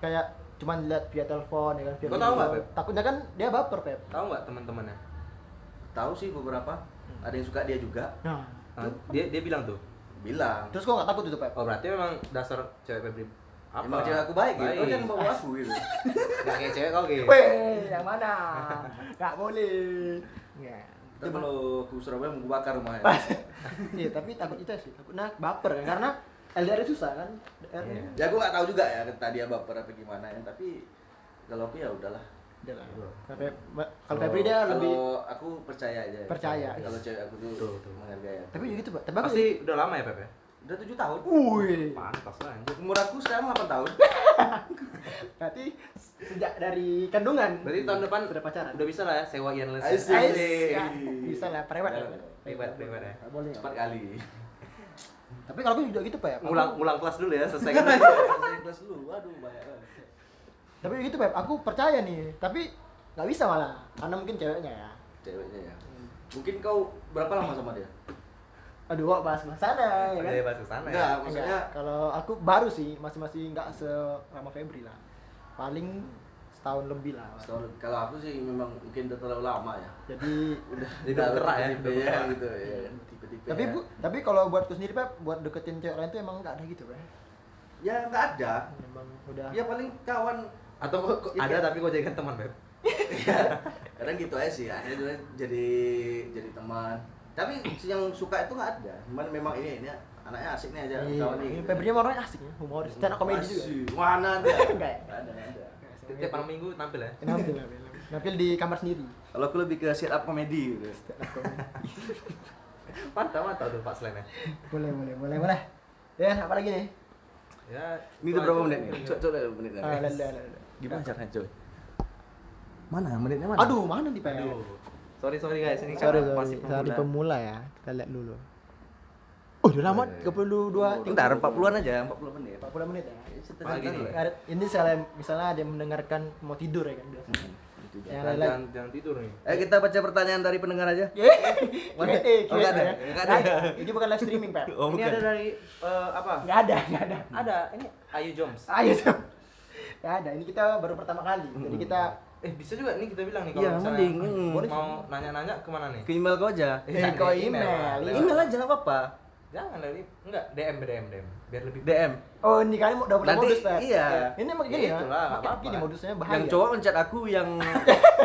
[SPEAKER 1] kayak cuman lihat via telepon ya kan via
[SPEAKER 2] Kau tahu nggak,
[SPEAKER 1] video.
[SPEAKER 2] Pep?
[SPEAKER 1] Takutnya kan dia baper Pep.
[SPEAKER 2] Tahu nggak teman-temannya?
[SPEAKER 3] tahu sih beberapa ada yang suka dia juga
[SPEAKER 1] Nah,
[SPEAKER 2] Nah, dia dia bilang tuh.
[SPEAKER 3] bilang
[SPEAKER 1] terus kok nggak takut itu Pep?
[SPEAKER 2] Oh berarti memang dasar cewek Febri apa?
[SPEAKER 3] emang cewek aku baik gitu
[SPEAKER 2] Baik.
[SPEAKER 3] oh, jangan bawa aku gitu
[SPEAKER 2] Nggak kayak cewek kau gitu.
[SPEAKER 1] Weh, yang mana? Gak boleh. Ya.
[SPEAKER 3] Ntar kalau ke Surabaya mau gua bakar rumahnya
[SPEAKER 1] Iya, tapi takut itu sih, takutnya baper kan karena LDR susah kan. LDR
[SPEAKER 2] Iya.
[SPEAKER 3] ya aku nggak tahu juga ya tadi dia baper apa gimana ya tapi kalau aku ya udahlah
[SPEAKER 1] Udah lah.
[SPEAKER 2] Betul.
[SPEAKER 1] Kalau Feb- Kalau
[SPEAKER 2] Kalau-
[SPEAKER 1] Febri dia Ya, lebih
[SPEAKER 3] kalau aku percaya aja
[SPEAKER 1] Percaya.
[SPEAKER 3] kalau cewek aku
[SPEAKER 2] Betul,
[SPEAKER 3] tuh
[SPEAKER 2] betul.
[SPEAKER 3] menghargai aku.
[SPEAKER 1] tapi Uh. juga gitu, Pak. Tapi aku
[SPEAKER 2] Pasti udah lama ya Pepe?
[SPEAKER 3] udah tujuh tahun
[SPEAKER 1] Wih.
[SPEAKER 2] Pantas lah anjir.
[SPEAKER 3] umur aku sekarang 8 tahun
[SPEAKER 1] Berarti sejak dari kandungan.
[SPEAKER 2] Berarti tahun depan
[SPEAKER 1] sudah pacaran.
[SPEAKER 2] Udah bisa lah ya sewa Ian Les.
[SPEAKER 3] Asik.
[SPEAKER 1] Ais, ya. Bisa lah, prewet.
[SPEAKER 3] Ya,
[SPEAKER 1] lah.
[SPEAKER 2] prewed, prewed ya.
[SPEAKER 1] Nggak Boleh.
[SPEAKER 3] empat kali
[SPEAKER 1] Tapi kalau aku juga gitu, Pak. Aku-
[SPEAKER 2] Ngulang ngulang kelas dulu ya selesai kelas.
[SPEAKER 3] Saya kelas dulu waduh banyak banget
[SPEAKER 1] Tapi gitu, Pak. Aku percaya nih, tapi nggak bisa malah. Karena mungkin ceweknya ya.
[SPEAKER 3] ceweknya ya mungkin kau berapa lama sama dia
[SPEAKER 1] Aduh, kok bahas bahas sana ya kan.
[SPEAKER 2] Udah bahas ke sana ya.
[SPEAKER 3] enggak maksudnya
[SPEAKER 1] Enggak, kalau aku baru sih, masih-masih nggak selama Febri lah. Paling setahun lebih lah.
[SPEAKER 3] setahun kalau aku sih memang mungkin udah terlalu lama ya
[SPEAKER 1] Jadi
[SPEAKER 3] udah
[SPEAKER 2] Jadi udah kerak ya,
[SPEAKER 3] tipe
[SPEAKER 2] udah
[SPEAKER 3] ya
[SPEAKER 2] kerak.
[SPEAKER 3] gitu ya tipe-tipe
[SPEAKER 1] tapi
[SPEAKER 3] ya.
[SPEAKER 1] bu, tapi kalau buat ku sendiri Pep, buat deketin cewek lain tuh emang nggak ada gitu Pep. Iya,
[SPEAKER 3] ya nggak ada
[SPEAKER 1] Emang udah.
[SPEAKER 3] ya paling kawan
[SPEAKER 2] Atau kok- kok
[SPEAKER 1] ya?
[SPEAKER 2] ada tapi kau jadikan teman, Beb.
[SPEAKER 3] kadang gitu aja sih akhirnya juga jadi jadi teman tapi yang suka itu nggak ada cuman memang ini ini anaknya asik nih aja
[SPEAKER 1] Iya,
[SPEAKER 3] kawan nih
[SPEAKER 1] ini
[SPEAKER 3] gitu.
[SPEAKER 1] Febrinya emang orangnya asik ya, humoris, stand up comedy juga.
[SPEAKER 3] Asik. mana ada
[SPEAKER 1] Nggak ya?
[SPEAKER 3] Nggak ada nggak ada
[SPEAKER 2] Tiap malam minggu tampil ya.
[SPEAKER 1] Nampil, nampil, nampil di kamar sendiri.
[SPEAKER 3] kalau aku lebih ke set up komedi gitu
[SPEAKER 1] Stand up comedy.
[SPEAKER 2] Mantap mantap tuh Pak Selain ya.
[SPEAKER 1] boleh, boleh, boleh, boleh. Ya, apa lagi nih?
[SPEAKER 2] Ya.
[SPEAKER 3] ini udah berapa menit nih coba coba menit
[SPEAKER 1] Ah,
[SPEAKER 3] lagi.
[SPEAKER 1] lah, lah, lah, lah.
[SPEAKER 3] gimana caranya coy mana menitnya mana
[SPEAKER 1] Aduh, mana nih Pep?
[SPEAKER 2] Aduh. Sorry sorry guys, ini
[SPEAKER 1] Sorry,
[SPEAKER 2] kan
[SPEAKER 1] sorry,
[SPEAKER 2] masih
[SPEAKER 1] sorry
[SPEAKER 2] pemula.
[SPEAKER 1] pemula ya. Kita lihat dulu. Oh, udah
[SPEAKER 3] iya,
[SPEAKER 1] lama, 32
[SPEAKER 3] bentar 40-an aja 40 menit
[SPEAKER 1] 40 menit ya.
[SPEAKER 2] Pagi nih.
[SPEAKER 1] Ada- Ini misalnya, misalnya ada yang mendengarkan mau tidur ya kan biasanya. Yang
[SPEAKER 2] Jangan,
[SPEAKER 1] lain-lain.
[SPEAKER 2] jangan, jangan tidur nih.
[SPEAKER 3] Eh Hmm, gitu. kita baca pertanyaan dari pendengar aja.
[SPEAKER 1] Gak
[SPEAKER 3] Mana?
[SPEAKER 1] ada,
[SPEAKER 3] Iya. Oh, nggak ada, nggak ada.
[SPEAKER 1] Ini bukan live streaming, Pep.
[SPEAKER 3] Oh,
[SPEAKER 2] ini
[SPEAKER 3] bukan.
[SPEAKER 2] ada dari eh, apa?
[SPEAKER 1] Gak ada, gak ada.
[SPEAKER 2] Ada ini Ayu Joms.
[SPEAKER 1] Ayo, Sob. Gak ada. Ini kita baru pertama kali. Jadi
[SPEAKER 3] Hmm.
[SPEAKER 1] kita
[SPEAKER 2] Eh bisa juga nih kita bilang nih
[SPEAKER 3] Iya,
[SPEAKER 2] kalau misalnya
[SPEAKER 3] mending, mm.
[SPEAKER 2] mau- mau nanya-nanya kemana nih?
[SPEAKER 3] Ke email kau aja.
[SPEAKER 1] Eh,
[SPEAKER 2] jangan
[SPEAKER 1] kau
[SPEAKER 2] deh,
[SPEAKER 1] email.
[SPEAKER 2] lewat.
[SPEAKER 3] Email aja nggak apa-apa.
[SPEAKER 2] Jangan dari enggak DM DM DM biar lebih
[SPEAKER 3] DM.
[SPEAKER 1] Oh, ini kalian mau double
[SPEAKER 3] Nanti,
[SPEAKER 1] modus, Pep.
[SPEAKER 3] iya.
[SPEAKER 1] Ini emang gini ya.
[SPEAKER 2] Itulah, nggak
[SPEAKER 1] Makin
[SPEAKER 2] apa-apa.
[SPEAKER 1] gini modusnya bahaya.
[SPEAKER 3] Yang cowok ngechat aku, yang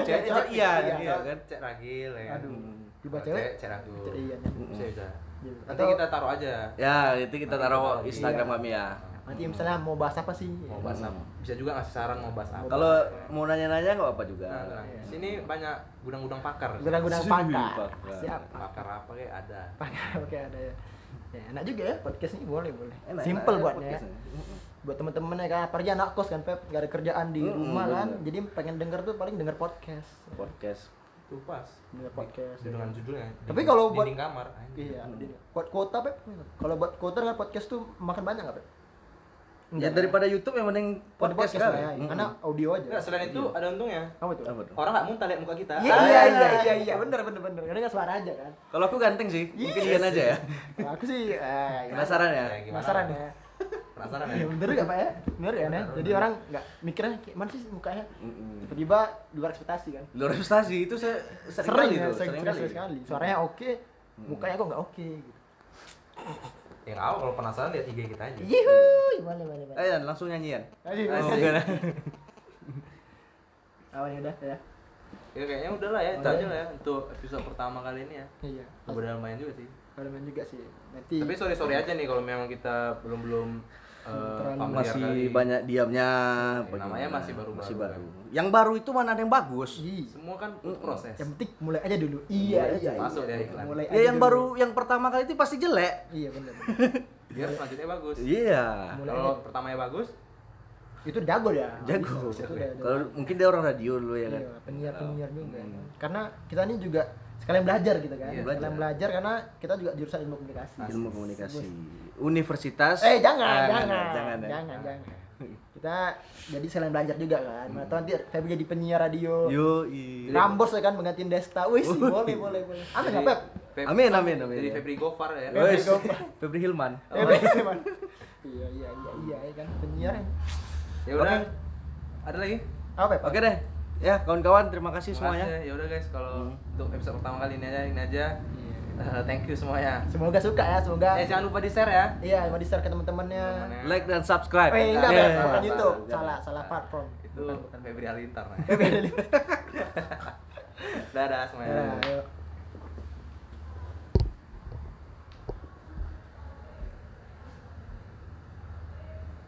[SPEAKER 3] cewek ngechat
[SPEAKER 1] Cewek,
[SPEAKER 3] iya,
[SPEAKER 1] iya,
[SPEAKER 3] iya kan?
[SPEAKER 2] cek ragil ya.
[SPEAKER 1] Aduh,
[SPEAKER 3] Hmm.
[SPEAKER 1] coba
[SPEAKER 2] Kalau
[SPEAKER 1] cewek.
[SPEAKER 2] cewek cek ragil.
[SPEAKER 1] Cek iya, iya.
[SPEAKER 2] Bisa bisa.
[SPEAKER 1] Iya.
[SPEAKER 2] Nanti
[SPEAKER 1] Atau-
[SPEAKER 2] kita taruh aja.
[SPEAKER 3] Ya, itu kita taruh
[SPEAKER 2] Iya.
[SPEAKER 3] Instagram kami ya.
[SPEAKER 1] Nanti misalnya mau bahas apa sih?
[SPEAKER 2] Mau bahas apa? Bisa juga ngasih saran mau bahas apa.
[SPEAKER 3] Kalau mau nanya-nanya nggak apa-apa juga.
[SPEAKER 2] nah, nah. di sini banyak gudang-gudang
[SPEAKER 1] Iya.
[SPEAKER 2] pakar.
[SPEAKER 1] Gudang-gudang
[SPEAKER 3] Sih,
[SPEAKER 1] pakar.
[SPEAKER 3] pakar.
[SPEAKER 1] Siap.
[SPEAKER 2] Pakar apa kayak ada.
[SPEAKER 1] Pakar, oke ada ya. Ya, enak juga ya podcast ini boleh boleh.
[SPEAKER 3] Enak,
[SPEAKER 1] Simple
[SPEAKER 3] enak,
[SPEAKER 1] buatnya ya.
[SPEAKER 3] podcastnya.
[SPEAKER 1] Buat temen-temen ya kan, apalagi anak kos kan Pep, gak ada kerjaan di
[SPEAKER 3] Mm-mm,
[SPEAKER 1] rumah kan.
[SPEAKER 3] bener.
[SPEAKER 1] Jadi pengen denger tuh paling denger podcast.
[SPEAKER 3] Podcast.
[SPEAKER 2] Tuh pas.
[SPEAKER 1] Denger podcast. ya.
[SPEAKER 2] Dengan judulnya.
[SPEAKER 1] Tapi kalau buat-
[SPEAKER 2] dinding kamar. anjing.
[SPEAKER 1] Iya. Buat kuota Pep, kalau buat kuota dengan podcast tuh makan banyak nggak Pep?
[SPEAKER 3] Ya daripada YouTube yang mending
[SPEAKER 1] Buat podcast,
[SPEAKER 3] podcast, kan.
[SPEAKER 1] lah ya,
[SPEAKER 3] Mm-mm.
[SPEAKER 1] karena audio aja.
[SPEAKER 2] Enggak, selain itu ada untungnya.
[SPEAKER 1] Apa tuh?
[SPEAKER 3] Apa tuh?
[SPEAKER 2] Orang nggak muntah lihat muka kita.
[SPEAKER 1] Iya
[SPEAKER 2] Ah,
[SPEAKER 1] iya iya iya iya bener bener bener karena nggak suara aja kan.
[SPEAKER 3] Kalau aku ganteng sih, mungkin Ian aja ya.
[SPEAKER 1] Kalau aku sih eh, ya,
[SPEAKER 3] Penasaran ya?
[SPEAKER 2] Ya, gimana?
[SPEAKER 1] penasaran ya.
[SPEAKER 2] Penasaran ya?
[SPEAKER 1] Ya bener gak pak ya? Bener kan ya? Jadi orang nggak mikirnya kayak mana sih mukanya?
[SPEAKER 3] Mm-mm.
[SPEAKER 1] Tiba-tiba luar ekspektasi kan.
[SPEAKER 3] Luar prestasi itu saya sering,
[SPEAKER 1] Sering
[SPEAKER 3] kali
[SPEAKER 1] ya,
[SPEAKER 3] tuh,
[SPEAKER 1] sering,
[SPEAKER 3] sering
[SPEAKER 1] sering, sering sekali. Suaranya oke, mukanya kok nggak oke. Gitu.
[SPEAKER 2] Ya nggak apa, kalau penasaran lihat IG kita
[SPEAKER 1] Iya.
[SPEAKER 2] aja.
[SPEAKER 1] Yuhu, boleh boleh boleh.
[SPEAKER 3] Ayo Eh, langsung nyanyian.
[SPEAKER 1] Ayo,
[SPEAKER 3] Oh,
[SPEAKER 1] ayo.
[SPEAKER 3] bukan.
[SPEAKER 1] Awalnya udah ya.
[SPEAKER 2] Ya kayaknya udah lah ya, itu
[SPEAKER 1] Udah.
[SPEAKER 2] aja lah ya untuk episode pertama kali ini ya.
[SPEAKER 1] Iya.
[SPEAKER 2] Udah lumayan juga sih.
[SPEAKER 1] Kalau main juga sih. Nanti.
[SPEAKER 2] Tapi sorry sorry aja nih kalau memang kita belum belum eh,
[SPEAKER 1] Terlalu
[SPEAKER 2] familiar kali.
[SPEAKER 3] masih banyak diamnya
[SPEAKER 2] Iya, namanya masih baru-baru
[SPEAKER 3] masih
[SPEAKER 2] kan.
[SPEAKER 3] baru yang baru itu mana ada yang bagus
[SPEAKER 1] Ih,
[SPEAKER 2] semua kan butuh proses
[SPEAKER 1] yang penting mulai aja dulu iya iya, iya.
[SPEAKER 2] masuk deh iklan.
[SPEAKER 1] mulai
[SPEAKER 3] ya
[SPEAKER 1] aja
[SPEAKER 3] yang
[SPEAKER 1] dulu.
[SPEAKER 3] baru yang pertama kali itu pasti jelek
[SPEAKER 1] iya benar
[SPEAKER 2] biar selanjutnya bagus
[SPEAKER 3] iya
[SPEAKER 1] Mulai
[SPEAKER 2] kalau pertamanya bagus
[SPEAKER 1] itu jago ya
[SPEAKER 3] jago
[SPEAKER 1] Itu udah- udah-
[SPEAKER 3] kalau mungkin dia orang radio dulu ya kan Hmm,
[SPEAKER 1] Iya, penyiar penyiar juga. Karena kita ini juga sekalian belajar gitu kan.
[SPEAKER 2] Iya,
[SPEAKER 1] sekalian belajar karena kita juga jurusan ilmu komunikasi.
[SPEAKER 3] ilmu komunikasi universitas
[SPEAKER 1] Nah, Eh jangan,
[SPEAKER 3] Ah,
[SPEAKER 1] jangan,
[SPEAKER 3] jangan
[SPEAKER 1] jangan,
[SPEAKER 3] ya.
[SPEAKER 1] jangan, Kita jadi sekalian belajar juga kan. Mana tahu nanti saya jadi penyiar radio.
[SPEAKER 3] Yoi.
[SPEAKER 1] Rambos ya kan menggantiin Desta. Wih, sih, boleh, boleh, boleh. Amin
[SPEAKER 2] Jadi,
[SPEAKER 1] apa?
[SPEAKER 2] Feb-
[SPEAKER 3] Amin, amin, amin.
[SPEAKER 2] jadi Febri Gofar ya
[SPEAKER 1] Febri
[SPEAKER 3] Wes,
[SPEAKER 1] Gofar.
[SPEAKER 3] Febri Hilman.
[SPEAKER 1] Eh, boleh, Man. Iya, iya, iya, iya, ya kan penyiar.
[SPEAKER 2] ya udah ada lagi
[SPEAKER 1] Apa ya?
[SPEAKER 3] Oke deh. Ya, kawan-kawan terima kasih
[SPEAKER 2] semuanya
[SPEAKER 3] semuanya. Hmm.
[SPEAKER 2] ya udah guys kalau untuk episode pertama kali ini aja ini aja Eh, thank you semuanya
[SPEAKER 1] Iya. Semoga suka ya, semoga.
[SPEAKER 2] eh jangan lupa di share ya
[SPEAKER 1] Iya, mau di-share ke teman-temannya.
[SPEAKER 2] Temennya.
[SPEAKER 3] Like dan subscribe.
[SPEAKER 1] Eh, enggak,
[SPEAKER 3] Ya,
[SPEAKER 1] bukan,
[SPEAKER 3] ya,
[SPEAKER 1] bukan
[SPEAKER 3] ya.
[SPEAKER 1] YouTube.
[SPEAKER 3] Jangan.
[SPEAKER 1] Salah, salah platform.
[SPEAKER 2] kan itu bukan Febri Alintar nah.
[SPEAKER 1] Beda
[SPEAKER 2] dadah semuanya
[SPEAKER 1] Nah, yuk.